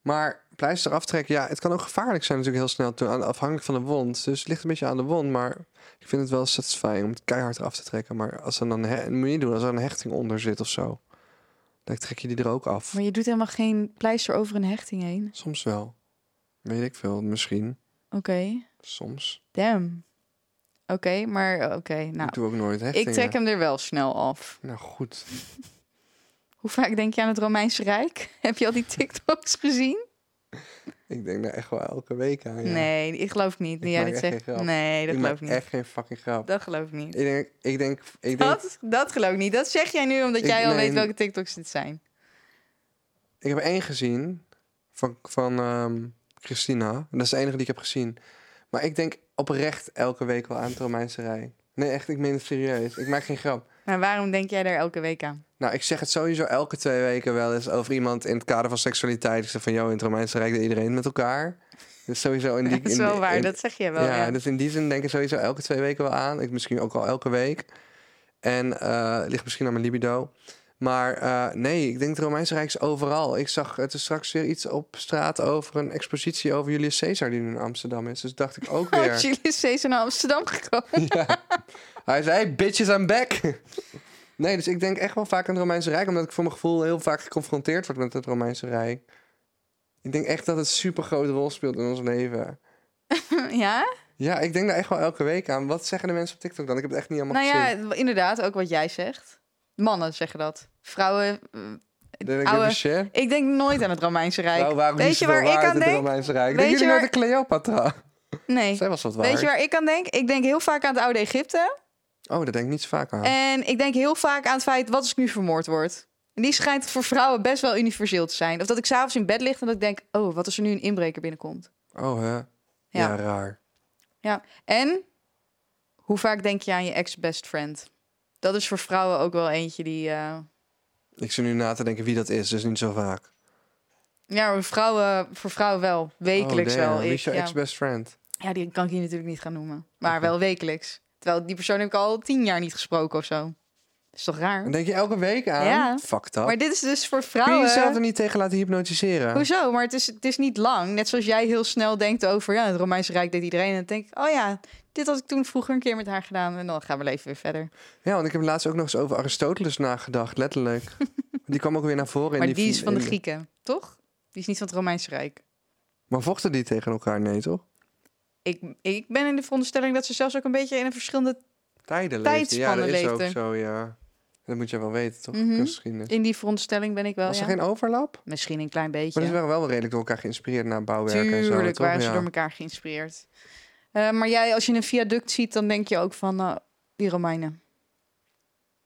Speaker 1: Maar pleister aftrekken, ja, het kan ook gevaarlijk zijn natuurlijk heel snel, toe, aan- afhankelijk van de wond. Dus het ligt een beetje aan de wond, maar ik vind het wel satisfying om het keihard eraf te trekken. Maar als er dan, he- moet je niet doen, als er een hechting onder zit of zo, dan trek je die er ook af.
Speaker 2: Maar je doet helemaal geen pleister over een hechting heen.
Speaker 1: Soms wel. Weet ik veel, misschien.
Speaker 2: Oké,
Speaker 1: Soms.
Speaker 2: damn. Oké, maar oké, nou.
Speaker 1: ik doe ook nooit hechtingen.
Speaker 2: Ik trek hem er wel snel af.
Speaker 1: Nou goed.
Speaker 2: Hoe vaak denk je aan het Romeinse Rijk? Heb je al die TikToks gezien?
Speaker 1: Ik denk daar echt wel elke week aan. ja.
Speaker 2: Nee, ik geloof het niet.
Speaker 1: Ik
Speaker 2: Nu jij
Speaker 1: maak
Speaker 2: dit
Speaker 1: echt geen
Speaker 2: zegt.
Speaker 1: grap.
Speaker 2: Nee, dat
Speaker 1: ik
Speaker 2: geloof
Speaker 1: maak
Speaker 2: ik niet.
Speaker 1: echt geen fucking grap.
Speaker 2: Dat geloof ik niet.
Speaker 1: Ik denk, ik denk, ik denk,
Speaker 2: Dat, dat geloof ik niet. Dat zeg jij nu omdat
Speaker 1: Ik-
Speaker 2: jij al
Speaker 1: nee,
Speaker 2: weet
Speaker 1: n-
Speaker 2: welke TikToks dit zijn.
Speaker 1: Ik heb één gezien van, van ehm, Christina. En dat is de enige die ik heb gezien. Maar ik denk oprecht elke week wel aan het Romeinse Rijk. Nee, echt, ik meen het serieus. Ik maak geen grap.
Speaker 2: Maar waarom denk jij daar elke week aan?
Speaker 1: Nou, ik zeg het sowieso elke twee weken wel eens over iemand in het kader van seksualiteit. Ik zeg van, joh, in het Romeinse Rijk deed iedereen met elkaar. Dus sowieso in die...
Speaker 2: Dat is
Speaker 1: in-
Speaker 2: wel waar,
Speaker 1: in-
Speaker 2: dat zeg je wel.
Speaker 1: ja,
Speaker 2: Ja,
Speaker 1: dus in die zin denk ik sowieso elke twee weken wel aan. Ik misschien ook al elke week. En eh ligt misschien aan mijn libido. Maar eh, nee, ik denk het Romeinse Rijk is overal. Ik zag het is straks weer iets op straat over een expositie over Julius Caesar die nu in Amsterdam is. Dus dacht ik ook
Speaker 2: Oh,
Speaker 1: weer.
Speaker 2: Julius Caesar naar Amsterdam gekomen.
Speaker 1: Hij zei, hey, bitches, I'm back. nee, dus ik denk echt wel vaak aan het Romeinse Rijk, omdat ik voor mijn gevoel heel vaak geconfronteerd word met het Romeinse Rijk. Ik denk echt dat het een super grote rol speelt in ons leven.
Speaker 2: ja?
Speaker 1: Ja, ik denk daar echt wel elke week aan. Wat zeggen de mensen op TikTok dan? Ik heb het echt niet allemaal
Speaker 2: Nou
Speaker 1: gezien.
Speaker 2: ja, inderdaad, ook wat jij zegt. Mannen zeggen dat. Vrouwen. eh,
Speaker 1: Dan denk ik,
Speaker 2: Oude-
Speaker 1: even shit.
Speaker 2: Ik denk nooit aan het Romeinse Rijk.
Speaker 1: Nou, waarom
Speaker 2: Weet je waar ik aan denk?
Speaker 1: Romeinse Rijk?
Speaker 2: Weet
Speaker 1: Denk jullie
Speaker 2: je
Speaker 1: naar de Cleopatra?
Speaker 2: Nee.
Speaker 1: Zij was wat waard.
Speaker 2: Weet je waar ik aan denk? Ik denk heel vaak aan het oude Egypte.
Speaker 1: Oh, dat denk ik niet zo vaak aan.
Speaker 2: En ik denk heel vaak aan het feit, wat als ik nu vermoord word? En die schijnt voor vrouwen best wel universeel te zijn. Of dat ik s'avonds in bed lig en dat ik denk, oh, wat als er nu een inbreker binnenkomt?
Speaker 1: Oh, hè? Ja.
Speaker 2: Ja.
Speaker 1: raar.
Speaker 2: Ja. En hoe vaak denk je aan je ex-best friend? Dat is voor vrouwen ook wel eentje die... eh,
Speaker 1: Ik zit nu na te denken wie dat is, dus niet zo vaak.
Speaker 2: Ja, maar vrouwen, voor vrouwen wel. Wekelijks
Speaker 1: oh, damn.
Speaker 2: wel.
Speaker 1: Wie
Speaker 2: Ik,
Speaker 1: is jouw
Speaker 2: ja.
Speaker 1: ex-best friend?
Speaker 2: ja, die kan ik hier natuurlijk niet gaan noemen. Maar wel wekelijks. Terwijl die persoon heb ik al tien jaar niet gesproken of zo. is toch raar?
Speaker 1: Dan denk je elke week aan?
Speaker 2: Ja.
Speaker 1: Fuck dat.
Speaker 2: Maar dit is dus voor
Speaker 1: Kun je
Speaker 2: vrouwen...
Speaker 1: jezelf er niet tegen laten hypnotiseren?
Speaker 2: Hoezo? Maar het is, het is niet lang. Net zoals jij heel snel denkt over... ja, het Romeinse Rijk deed iedereen. En dan denk ik, oh ja, dit had ik toen vroeger een keer met haar gedaan. En dan gaan we leven weer verder.
Speaker 1: Ja, want ik heb laatst ook nog eens over Aristoteles nagedacht, letterlijk. die kwam ook weer naar voren. in
Speaker 2: Maar die,
Speaker 1: die
Speaker 2: is van de
Speaker 1: in-
Speaker 2: Grieken, toch? Die is niet van het Romeinse Rijk.
Speaker 1: Maar vochten die tegen elkaar? Nee, toch?
Speaker 2: Ik, ik ben in de veronderstelling dat ze zelfs ook een beetje in een verschillende...
Speaker 1: Tijden leefden. Ja,
Speaker 2: Tijdspannen
Speaker 1: dat is ook
Speaker 2: leefden.
Speaker 1: zo, ja. Dat moet je wel weten, toch?
Speaker 2: Mhm.
Speaker 1: Kunstgeschiedenis.
Speaker 2: In die veronderstelling ben ik wel,
Speaker 1: Was
Speaker 2: ja.
Speaker 1: er geen overlap?
Speaker 2: Misschien een klein beetje.
Speaker 1: Maar ze waren wel redelijk door elkaar geïnspireerd naar bouwwerken en zo.
Speaker 2: Tuurlijk
Speaker 1: toch?
Speaker 2: waren ze
Speaker 1: Ja.
Speaker 2: door elkaar geïnspireerd. Eh, maar jij, als je een viaduct ziet, dan denk je ook van eh, die Romeinen.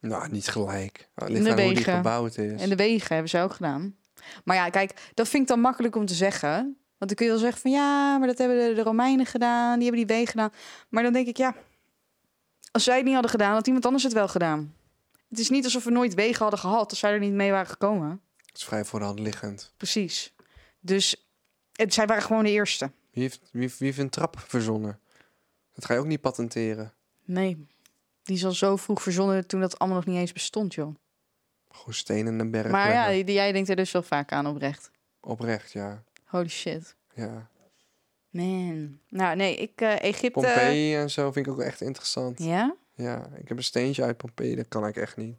Speaker 1: Nou, niet gelijk. Het
Speaker 2: de
Speaker 1: ligt aan hoe die
Speaker 2: wegen.
Speaker 1: gebouwd is.
Speaker 2: En de wegen hebben ze ook gedaan. Maar ja, kijk, dat vind ik dan makkelijk om te zeggen. Want dan kun je wel zeggen van ja, maar dat hebben de, de Romeinen gedaan. Die hebben die wegen gedaan. Maar dan denk ik ja, als zij het niet hadden gedaan, had iemand anders het wel gedaan. Het is niet alsof we nooit wegen hadden gehad als zij er niet mee waren gekomen.
Speaker 1: Het is vrij voor de hand liggend.
Speaker 2: Precies. Dus het, zij waren gewoon de eerste.
Speaker 1: Wie heeft, wie, heeft- wie heeft een trap verzonnen? Dat ga je ook niet patenteren.
Speaker 2: Nee, die is al zo vroeg verzonnen toen dat allemaal nog niet eens bestond, joh.
Speaker 1: Gewoon stenen in de berg
Speaker 2: Maar ja,
Speaker 1: leggen.
Speaker 2: die- jij denkt er dus wel vaak aan oprecht.
Speaker 1: Oprecht, ja.
Speaker 2: Holy shit.
Speaker 1: ja.
Speaker 2: Man. Nou, nee, ik eh, Egypte...
Speaker 1: Pompeii en zo vind ik ook echt interessant. Ja.
Speaker 2: Ja?
Speaker 1: ik heb een steentje uit Pompeii. Dat kan ik echt niet.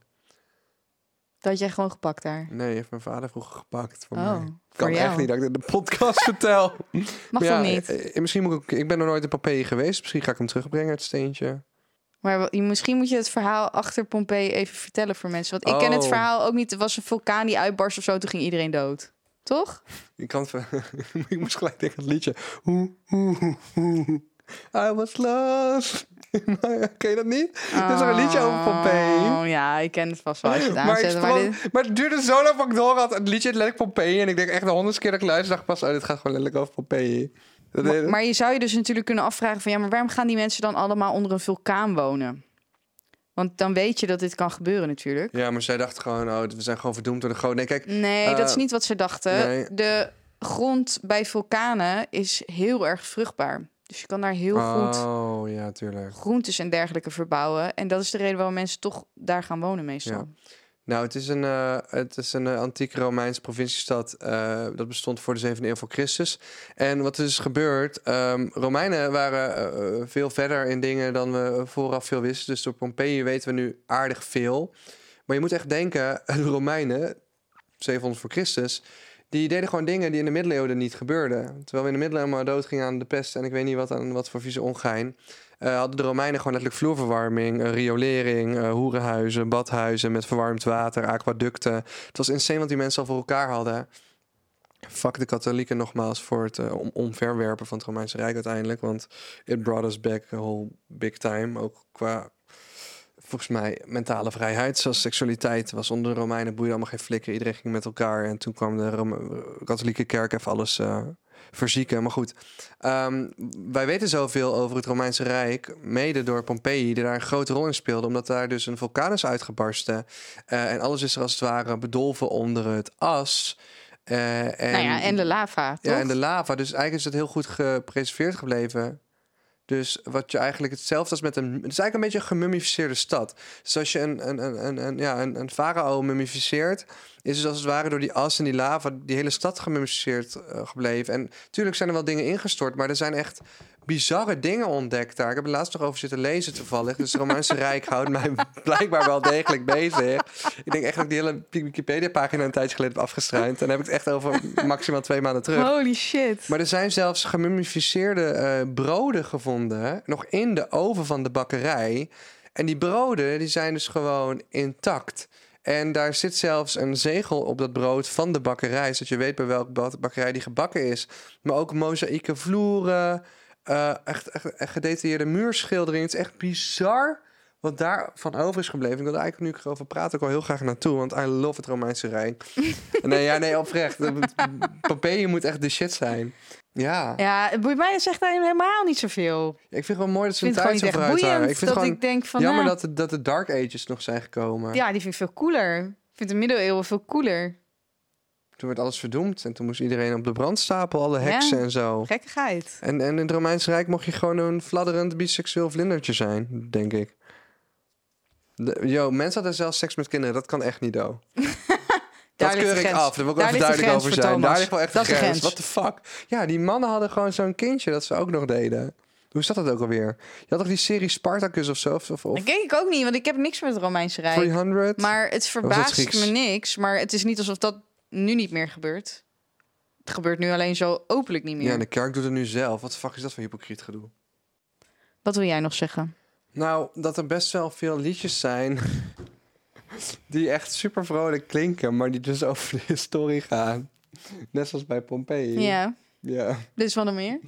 Speaker 2: Dat had jij gewoon gepakt daar.
Speaker 1: Nee, heeft mijn vader vroeger gepakt voor
Speaker 2: Oh,
Speaker 1: mij.
Speaker 2: voor
Speaker 1: Kan echt
Speaker 2: jou.
Speaker 1: niet dat ik dit in de podcast vertel.
Speaker 2: Mag
Speaker 1: Maar
Speaker 2: dat
Speaker 1: ja,
Speaker 2: niet?
Speaker 1: eh, eh, misschien moet ik, ik ben nog nooit in Pompeii geweest. Misschien ga ik hem terugbrengen, het steentje.
Speaker 2: Maar wel- je- misschien moet je het verhaal achter Pompeii even vertellen voor mensen. Want ik ken het
Speaker 1: Oh.
Speaker 2: verhaal ook niet. Er was een vulkaan die uitbarst of zo, toen ging iedereen dood. Toch?
Speaker 1: Ik kan het ver- ik moest gelijk denken aan het liedje. Hoe, hoe, hoe, hoe. I was lost. Nou Ken je dat niet? Er is er een liedje over Pompeii.
Speaker 2: Oh ja, ik ken het vast wel als je het
Speaker 1: Maar, ik
Speaker 2: aanzet. Maar,
Speaker 1: sprong-
Speaker 2: dit-
Speaker 1: maar het duurde zo lang voordat ik door had. Het liedje heet letterlijk Pompeii. En ik denk echt de honderd keer dat ik luister, dacht ik pas... Oh, dit gaat gewoon letterlijk over Pompeii. Dat
Speaker 2: maar,
Speaker 1: deed-
Speaker 2: maar je zou je dus natuurlijk kunnen afvragen van... ja, maar waarom gaan die mensen dan allemaal onder een vulkaan wonen? Want dan weet je dat dit kan gebeuren natuurlijk.
Speaker 1: Ja, maar zij dacht gewoon... Oh, we zijn gewoon verdoemd door de goden. Nee, kijk...
Speaker 2: Nee,
Speaker 1: Eh,
Speaker 2: dat is niet wat ze dachten.
Speaker 1: nee.
Speaker 2: De grond bij vulkanen is heel erg vruchtbaar. Dus je kan daar heel goed
Speaker 1: Oh, ja, tuurlijk.
Speaker 2: groentes en dergelijke verbouwen. En dat is de reden waarom mensen toch daar gaan wonen meestal.
Speaker 1: Nou, het is een, eh, het is een eh, antieke Romeins provinciestad. eh, dat bestond voor de 7e eeuw voor Christus. En wat is gebeurd? ehm, Romeinen waren eh, eh, veel verder in dingen dan we vooraf veel wisten. Dus door Pompeii weten we nu aardig veel. Maar je moet echt denken, de Romeinen, 700 voor Christus... die deden gewoon dingen die in de middeleeuwen niet gebeurden. Terwijl we in de middeleeuwen maar dood gingen aan de pest... en ik weet niet wat, aan, wat voor vieze ongein... Eh, hadden de Romeinen gewoon letterlijk vloerverwarming, eh, riolering, eh, hoerenhuizen, badhuizen met verwarmd water, aquaducten. Het was insane wat die mensen al voor elkaar hadden. Fuck de katholieken nogmaals voor het eh, om- omverwerpen van het Romeinse Rijk uiteindelijk. Want it brought us back a whole big time. Ook qua, volgens mij, mentale vrijheid. Zoals seksualiteit was onder de Romeinen boeide allemaal geen flikker. Iedereen ging met elkaar. En toen kwam de Rome- katholieke kerk even alles eh, verzieken. Maar goed, Ehm, wij weten zoveel over het Romeinse Rijk, mede door Pompeii, die daar een grote rol in speelde, omdat daar dus een vulkaan is uitgebarsten. Eh, en alles is er als het ware bedolven onder het as. Eh, en,
Speaker 2: nou ja, en de lava, toch?
Speaker 1: ja, en de lava. Dus eigenlijk is het heel goed gepreserveerd gebleven. Dus wat je eigenlijk hetzelfde als met een. Het is eigenlijk een beetje een gemummificeerde stad. Dus als je een, een, een, een, een- ja, een, een farao mummificeert. is dus als het ware door die as en die lava. die hele stad gemummificeerd eh, gebleven. En natuurlijk zijn er wel dingen ingestort. maar er zijn echt bizarre dingen ontdekt daar. Ik heb er laatst nog over zitten lezen toevallig. Dus het Romeinse Rijk houdt mij blijkbaar wel degelijk bezig. Ik denk echt dat ik die hele Wikipedia-pagina een tijdje geleden heb afgestruind. En dan heb ik het echt over maximaal twee maanden terug.
Speaker 2: Holy shit.
Speaker 1: Maar er zijn zelfs gemummificeerde eh, broden gevonden, nog in de oven van de bakkerij. En die broden die zijn dus gewoon intact. En daar zit zelfs een zegel op dat brood van de bakkerij, zodat je weet bij welke bak- bakkerij die gebakken is. Maar ook mozaïeke vloeren, eh, echt, echt, echt gedetailleerde muurschilderingen. Het is echt bizar wat daarvan over is gebleven. Ik wil er eigenlijk nu ik erover praten ook wel heel graag naartoe, want I love het Romeinse Rijk. nee, ja, nee, oprecht. Pompeii moet echt de shit zijn. Ja,
Speaker 2: Ja, het boeit mij zegt hij helemaal niet zoveel. Ik
Speaker 1: ik vind het wel mooi dat ze
Speaker 2: vind
Speaker 1: een
Speaker 2: het
Speaker 1: tijd
Speaker 2: gewoon niet
Speaker 1: zo vooruit
Speaker 2: echt boeiend.
Speaker 1: waren. Ik vind
Speaker 2: dat
Speaker 1: het gewoon
Speaker 2: ik denk van,
Speaker 1: jammer
Speaker 2: nou,
Speaker 1: dat, de, dat de Dark Ages nog zijn gekomen.
Speaker 2: ja, die vind ik veel cooler. Ik vind de middeleeuwen veel cooler.
Speaker 1: Toen werd alles verdoemd en toen moest iedereen op de brandstapel, alle
Speaker 2: Ja.
Speaker 1: heksen en zo.
Speaker 2: Gekkigheid.
Speaker 1: En, en in het Romeinse Rijk mocht je gewoon een fladderend biseksueel vlindertje zijn, denk ik. De, yo, mensen hadden zelfs seks met kinderen, dat kan echt niet, do. dat
Speaker 2: Daar ligt
Speaker 1: keur
Speaker 2: de
Speaker 1: ik
Speaker 2: grens.
Speaker 1: af, daar wil ik
Speaker 2: Daar
Speaker 1: even
Speaker 2: ligt
Speaker 1: duidelijk
Speaker 2: de grens
Speaker 1: over
Speaker 2: voor
Speaker 1: zijn.
Speaker 2: Thomas.
Speaker 1: Daar ligt wel echt
Speaker 2: Dat is
Speaker 1: de
Speaker 2: de
Speaker 1: grens.
Speaker 2: grens.
Speaker 1: What the fuck? Ja, die mannen hadden gewoon zo'n kindje dat ze ook nog deden. Hoe zat dat ook alweer? Je had toch die serie Spartacus of zo? Of, of, of
Speaker 2: Dat ken ik ook niet, want ik heb niks met het Romeinse Rijk.
Speaker 1: 300?
Speaker 2: Maar het verbaast
Speaker 1: Grieks?
Speaker 2: me niks. Maar het is niet alsof dat nu niet meer gebeurt. Het gebeurt nu alleen zo openlijk niet meer.
Speaker 1: Ja, en de kerk doet het nu zelf. Wat de fuck is dat voor hypocriet gedoe?
Speaker 2: Wat wil jij nog zeggen?
Speaker 1: Nou, dat er best wel veel liedjes zijn die echt super vrolijk klinken, maar die dus over de historie gaan. Net zoals bij Pompeii.
Speaker 2: Ja,
Speaker 1: Ja.
Speaker 2: dus wat nog meer?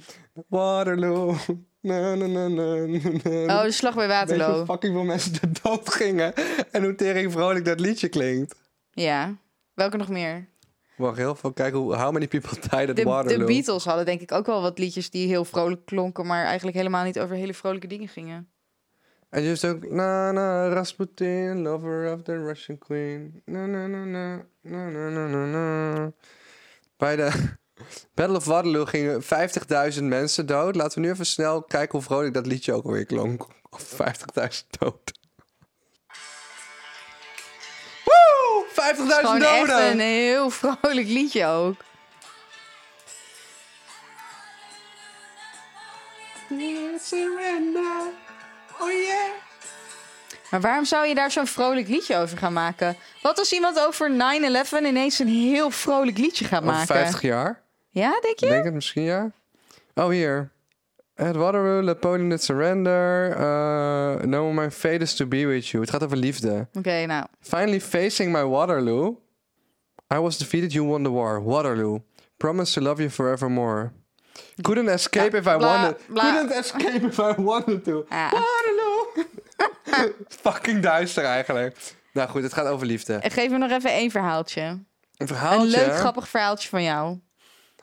Speaker 1: Waterloo. Na, na, na, na, na, na.
Speaker 2: Oh, de slag bij
Speaker 1: Weet je hoe
Speaker 2: Waterloo.
Speaker 1: fucking veel mensen de dood gingen en hoe tering vrolijk dat liedje klinkt.
Speaker 2: Ja. Welke nog meer?
Speaker 1: Wacht, heel veel. Kijk, hoe, how many people died at
Speaker 2: De, de
Speaker 1: Waterloo?
Speaker 2: Beatles hadden denk ik ook wel wat liedjes die heel vrolijk klonken, maar eigenlijk helemaal niet over hele vrolijke dingen gingen.
Speaker 1: En je hebt ook na na Rasputin, lover of the Russian queen. Na na na na na na na na. na. Bij de Battle of Waterloo gingen 50.000 mensen dood. Laten we nu even snel kijken hoe vrolijk dat liedje ook alweer klonk. Of 50.000 dood. Woe! 50.000
Speaker 2: Gewoon echt
Speaker 1: doden!
Speaker 2: een heel vrolijk liedje ook. Maar waarom zou je daar zo'n vrolijk liedje over gaan maken? Wat als iemand over 9-11 ineens een heel vrolijk liedje gaat
Speaker 1: Over
Speaker 2: maken?
Speaker 1: 50 jaar?
Speaker 2: Ja, denk je?
Speaker 1: Ik Denk het misschien, ja. Oh, hier. At Waterloo, Napoleon did surrender. eh, no, my fate is to be with you. Het gaat over liefde.
Speaker 2: Oké, nou.
Speaker 1: Finally facing my Waterloo. I was defeated, you won the war. Waterloo. Promise to love you forevermore. Couldn't escape if I
Speaker 2: bla,
Speaker 1: wanted.
Speaker 2: bla.
Speaker 1: Couldn't escape if I wanted to.
Speaker 2: Ja.
Speaker 1: Waterloo. Fucking duister eigenlijk. Nou goed, het gaat over liefde.
Speaker 2: Geef me nog even één verhaaltje.
Speaker 1: Een
Speaker 2: Een
Speaker 1: verhaaltje.
Speaker 2: leuk, grappig verhaaltje van jou.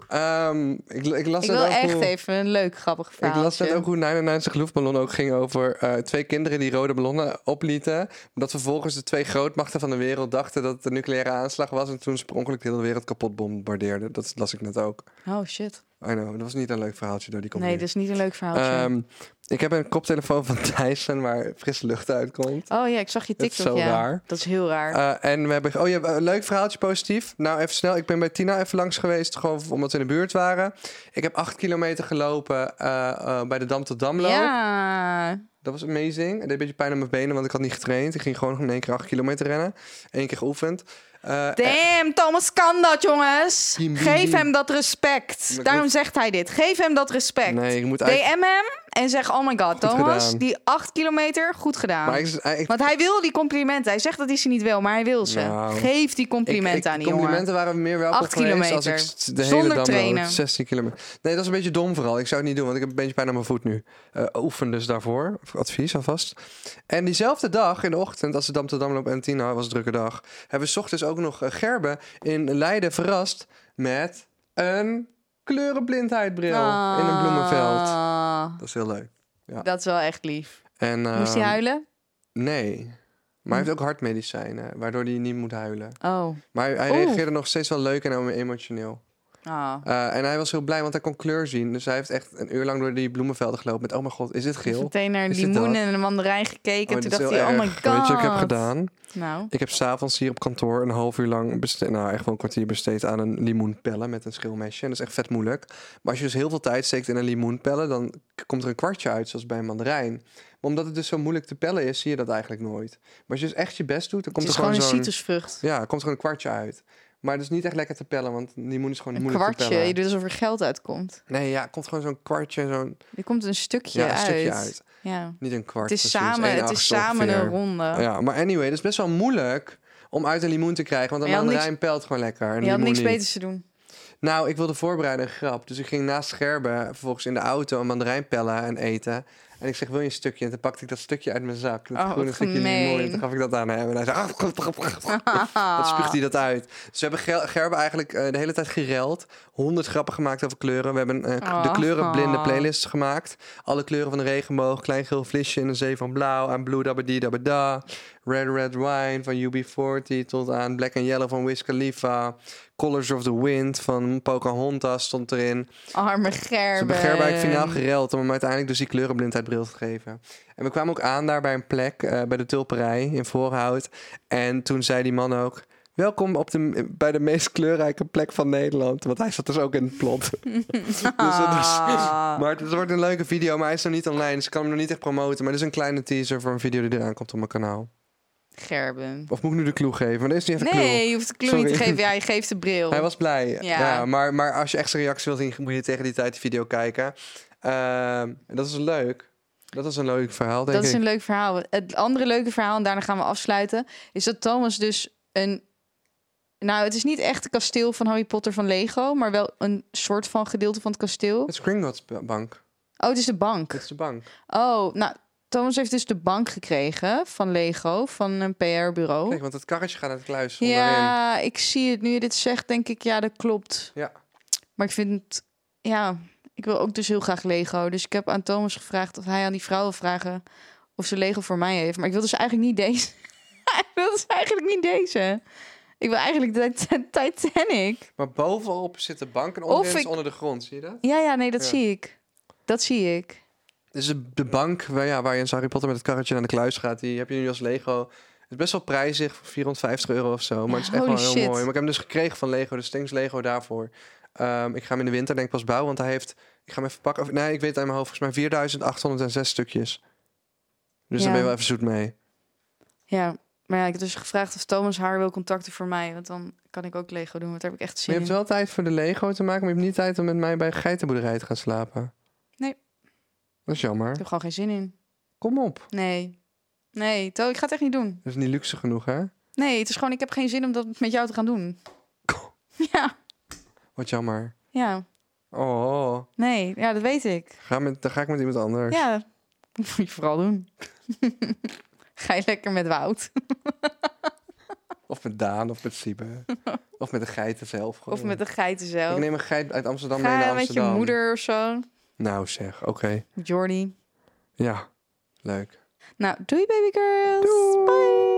Speaker 1: Ehm, ik, ik las
Speaker 2: Ik
Speaker 1: net
Speaker 2: wil
Speaker 1: ook
Speaker 2: echt
Speaker 1: hoe-
Speaker 2: even een leuk, grappig verhaaltje.
Speaker 1: Ik las net ook hoe 99 Luftballon ook ging over eh, twee kinderen die rode ballonnen oplieten. Dat vervolgens de twee grootmachten van de wereld dachten dat het een nucleaire aanslag was. En toen ze per ongeluk de hele wereld kapot bombardeerden. Dat las ik net ook.
Speaker 2: Oh, shit.
Speaker 1: I know, dat was niet een leuk verhaaltje door die
Speaker 2: Nee,
Speaker 1: comedy.
Speaker 2: dat is niet een leuk verhaaltje.
Speaker 1: Ehm, Ik heb een koptelefoon van Dyson waar frisse lucht uitkomt.
Speaker 2: Oh ja, ik zag je
Speaker 1: Dat
Speaker 2: TikTok.
Speaker 1: is zo
Speaker 2: ja.
Speaker 1: raar.
Speaker 2: Dat is heel raar.
Speaker 1: Eh, en we hebben... Oh ja, een leuk verhaaltje positief. Nou, even snel. Ik ben bij Tina even langs geweest, gewoon omdat we in de buurt waren. Ik heb acht kilometer gelopen eh, eh, bij de Dam tot Damloop.
Speaker 2: ja.
Speaker 1: Dat was amazing. Het deed een beetje pijn aan mijn benen, want ik had niet getraind. Ik ging gewoon in één keer acht kilometer rennen. Eén keer geoefend. Eh,
Speaker 2: Damn, Thomas kan dat, jongens.
Speaker 1: Bim, bim,
Speaker 2: Geef
Speaker 1: bim.
Speaker 2: hem dat
Speaker 1: Maar
Speaker 2: respect.
Speaker 1: ik
Speaker 2: Daarom
Speaker 1: moet-
Speaker 2: zegt hij dit. Geef hem dat respect.
Speaker 1: Nee, ik moet eigenlijk-
Speaker 2: DM hem en zeg, oh my god, Thomas,
Speaker 1: gedaan.
Speaker 2: die acht kilometer, goed gedaan.
Speaker 1: maar ik, ik, ik-
Speaker 2: Want hij wil die complimenten. Hij zegt dat hij ze niet wil, maar hij wil ze.
Speaker 1: Nou,
Speaker 2: Geef die complimenten
Speaker 1: ik-
Speaker 2: aan die jongen.
Speaker 1: complimenten waren meer welkom
Speaker 2: Acht
Speaker 1: geweest als ik
Speaker 2: kilometer.
Speaker 1: s- de
Speaker 2: Zonder
Speaker 1: hele dam
Speaker 2: trainen.
Speaker 1: loop. 16 kilometer. Nee, dat is een beetje dom vooral. Ik zou het niet doen, want ik heb een beetje pijn aan mijn voet nu. Eh, oefen dus daarvoor. Advies alvast. En diezelfde dag in de ochtend, als de Dam tot Damloop en Tina was een drukke dag, hebben we 's ochtends ook nog eh, Gerben in Leiden verrast met een kleurenblindheidbril in een bloemenveld.
Speaker 2: Ah,
Speaker 1: Dat is heel leuk.
Speaker 2: Dat is wel echt lief.
Speaker 1: En,
Speaker 2: Moest
Speaker 1: ehm,
Speaker 2: hij huilen?
Speaker 1: Nee. Maar hij heeft ook hartmedicijnen, waardoor hij niet moet huilen.
Speaker 2: Oh.
Speaker 1: Maar hij, hij
Speaker 2: Oeh.
Speaker 1: reageerde nog steeds wel leuk en emotioneel.
Speaker 2: Ah.
Speaker 1: Eh, en hij was heel blij, want hij kon kleur zien. Dus hij heeft echt een uur lang door die bloemenvelden gelopen met... Oh mijn god, is dit
Speaker 2: Hij heeft
Speaker 1: geel?
Speaker 2: meteen naar een
Speaker 1: Is dit
Speaker 2: limoen
Speaker 1: dat?
Speaker 2: en een mandarijn gekeken.
Speaker 1: Oh,
Speaker 2: Toen
Speaker 1: dit is
Speaker 2: dacht
Speaker 1: heel
Speaker 2: hij, oh my
Speaker 1: erg.
Speaker 2: god.
Speaker 1: Weet je wat ik heb gedaan?
Speaker 2: Nou,
Speaker 1: Ik heb s'avonds hier op kantoor een half uur lang... beste- nou, echt wel een kwartier besteed aan een limoenpellen met een schilmesje. En dat is echt vet moeilijk. Maar als je dus heel veel tijd steekt in een limoenpellen... dan k- komt er een kwartje uit, zoals bij een mandarijn. Maar omdat het dus zo moeilijk te pellen is, zie je dat eigenlijk nooit. Maar als je dus echt je best doet, dan
Speaker 2: het
Speaker 1: komt
Speaker 2: is
Speaker 1: er
Speaker 2: gewoon een
Speaker 1: zo'n...
Speaker 2: citrusvrucht.
Speaker 1: Ja, er komt gewoon een kwartje uit. Maar dat is niet echt lekker te pellen, want die moen is gewoon
Speaker 2: Een
Speaker 1: moeilijk te
Speaker 2: kwartje.
Speaker 1: pellen.
Speaker 2: Je doet alsof er geld uitkomt.
Speaker 1: Nee, ja, er komt gewoon zo'n kwartje, zo'n
Speaker 2: Er komt een stukje
Speaker 1: ja, een
Speaker 2: uit.
Speaker 1: stukje uit.
Speaker 2: Ja.
Speaker 1: Niet een kwart.
Speaker 2: Het is
Speaker 1: precies,
Speaker 2: samen,
Speaker 1: één
Speaker 2: het is
Speaker 1: achtste
Speaker 2: samen een
Speaker 1: ongeveer.
Speaker 2: ronde.
Speaker 1: Ja, maar anyway, dat is best wel moeilijk om uit een limoen te krijgen, want
Speaker 2: Maar
Speaker 1: een
Speaker 2: je had
Speaker 1: mandarijn pelt gewoon lekker. en een
Speaker 2: Je had
Speaker 1: limoen
Speaker 2: niks
Speaker 1: niet.
Speaker 2: beters te doen.
Speaker 1: Nou, ik wilde voorbereiden een grap, dus ik ging naast Scherben vervolgens in de auto een mandarijn pellen en eten. En ik zeg, wil je een stukje? En toen pakte ik dat stukje uit mijn zak. Dat
Speaker 2: Oh,
Speaker 1: groene
Speaker 2: wat
Speaker 1: stukje limoen.
Speaker 2: gemeen.
Speaker 1: En toen gaf ik dat aan hem. En hij zei... "Ah, grrr, grrr, grrr." Dat spuugt hij dat uit. Dus we hebben Ger- Gerben eigenlijk eh, de hele tijd gereld. Honderd grappen gemaakt over kleuren. We hebben eh, k- de
Speaker 2: Ah.
Speaker 1: kleurenblinde playlist gemaakt. Alle kleuren van de regenboog. Klein geel vliesje in een zee van blauw. Aan blue dabadi dabada. Red Red Wine van UB40 tot aan Black and Yellow van Wiz Khalifa. Colors of the Wind van Pocahontas stond erin.
Speaker 2: Arme
Speaker 1: Ze
Speaker 2: Gerben.
Speaker 1: hebben Gerben eigenlijk finaal gereld om hem uiteindelijk dus die kleurenblindheidbril te geven. En we kwamen ook aan daar bij een plek, eh, bij de Tulperij in Voorhout. En toen zei die man ook, welkom op de, bij de meest kleurrijke plek van Nederland. Want hij zat dus ook in het plot. dus het is-
Speaker 2: Ah.
Speaker 1: maar het wordt een leuke video, maar hij is nog niet online. Dus ik kan hem nog niet echt promoten. Maar dit is een kleine teaser voor een video die eraan komt op mijn kanaal.
Speaker 2: Gerben.
Speaker 1: Of moet ik nu de clue geven? Want dit is niet echt een clue.
Speaker 2: Nee, je hoeft de clue niet te
Speaker 1: Sorry.
Speaker 2: geven. Ja, je geeft de bril.
Speaker 1: Hij was blij. Ja.
Speaker 2: Ja.
Speaker 1: maar, maar als je echt zijn reactie wil zien, moet je tegen die tijd de video kijken. Ehm, dat is leuk. Dat is een leuk verhaal, denk
Speaker 2: dat is
Speaker 1: ik.
Speaker 2: een leuk verhaal. Het andere leuke verhaal, en daarna gaan we afsluiten, is dat Thomas dus een. Nou, het is niet echt het kasteel van Harry Potter van Lego, maar wel een soort van gedeelte van het kasteel.
Speaker 1: Het is Gringotts ba- bank.
Speaker 2: Oh, het is de bank.
Speaker 1: Dat is de bank.
Speaker 2: Oh, nou, Thomas heeft dus de bank gekregen van Lego, van een PR-bureau.
Speaker 1: Kijk, want het karretje gaat uit het kluis onderin.
Speaker 2: Ja, ik zie het. Nu je dit zegt, denk ik, ja, dat klopt.
Speaker 1: Ja.
Speaker 2: Maar ik vind, het- ja, ik wil ook dus heel graag Lego. Dus ik heb aan Thomas gevraagd of hij aan die vrouw wil vragen of ze Lego voor mij heeft. Maar ik wil dus eigenlijk niet deze. ik wil dus eigenlijk niet deze. Ik wil eigenlijk de Ti- Titanic.
Speaker 1: Maar bovenop zit de bank en onderin
Speaker 2: Of
Speaker 1: is
Speaker 2: ik-
Speaker 1: onder de grond. Zie je dat?
Speaker 2: Ja, ja, nee, dat
Speaker 1: Ja.
Speaker 2: zie ik. Dat zie ik.
Speaker 1: Dus de- de bank waar, ja, waar je in Harry Potter met het karretje naar de kluis gaat, die heb je nu als Lego. Het is best wel prijzig, voor 450 euro of zo. Maar het is echt
Speaker 2: holy
Speaker 1: wel heel
Speaker 2: shit.
Speaker 1: mooi. Maar ik heb hem dus gekregen van Lego, dus thanks Lego daarvoor. Ehm, ik ga hem in de winter denk ik pas bouwen, want hij heeft... Ik ga hem even pakken. Of, nee, ik weet het uit mijn hoofd. Volgens mij 4806 stukjes. Dus
Speaker 2: Ja.
Speaker 1: daar ben je wel even zoet mee.
Speaker 2: Ja, maar ja, ik heb dus gevraagd of Thomas haar wil contacten voor mij. Want dan kan ik ook Lego doen, want daar heb ik echt
Speaker 1: Maar
Speaker 2: zin
Speaker 1: je
Speaker 2: in.
Speaker 1: hebt wel tijd voor de Lego te maken, maar je hebt niet tijd om met mij bij een geitenboerderij te gaan slapen.
Speaker 2: Nee.
Speaker 1: Dat is
Speaker 2: Ik
Speaker 1: jammer.
Speaker 2: heb gewoon geen zin in.
Speaker 1: Kom op.
Speaker 2: Nee. Nee, To, ik ga het echt niet doen.
Speaker 1: Dat is niet luxe genoeg, hè?
Speaker 2: Nee, het is gewoon, ik heb geen zin om dat met jou te gaan doen. Ja,
Speaker 1: Wat jammer.
Speaker 2: ja.
Speaker 1: Oh,
Speaker 2: Nee, ja, dat weet ik.
Speaker 1: ga met, dan ga ik met iemand anders.
Speaker 2: Ja, dat moet je vooral doen. Ga je lekker met Wout.
Speaker 1: Of met Daan, of met Siebe. of met de geiten zelf. Gewoon.
Speaker 2: Of met de geiten zelf.
Speaker 1: Ik neem een geit uit Amsterdam mee naar
Speaker 2: Ga met je
Speaker 1: Amsterdam.
Speaker 2: moeder of zo.
Speaker 1: Nou zeg, oké.
Speaker 2: Jordi.
Speaker 1: Ja, leuk.
Speaker 2: Nou, doei baby girls.
Speaker 1: Doei.
Speaker 2: Bye.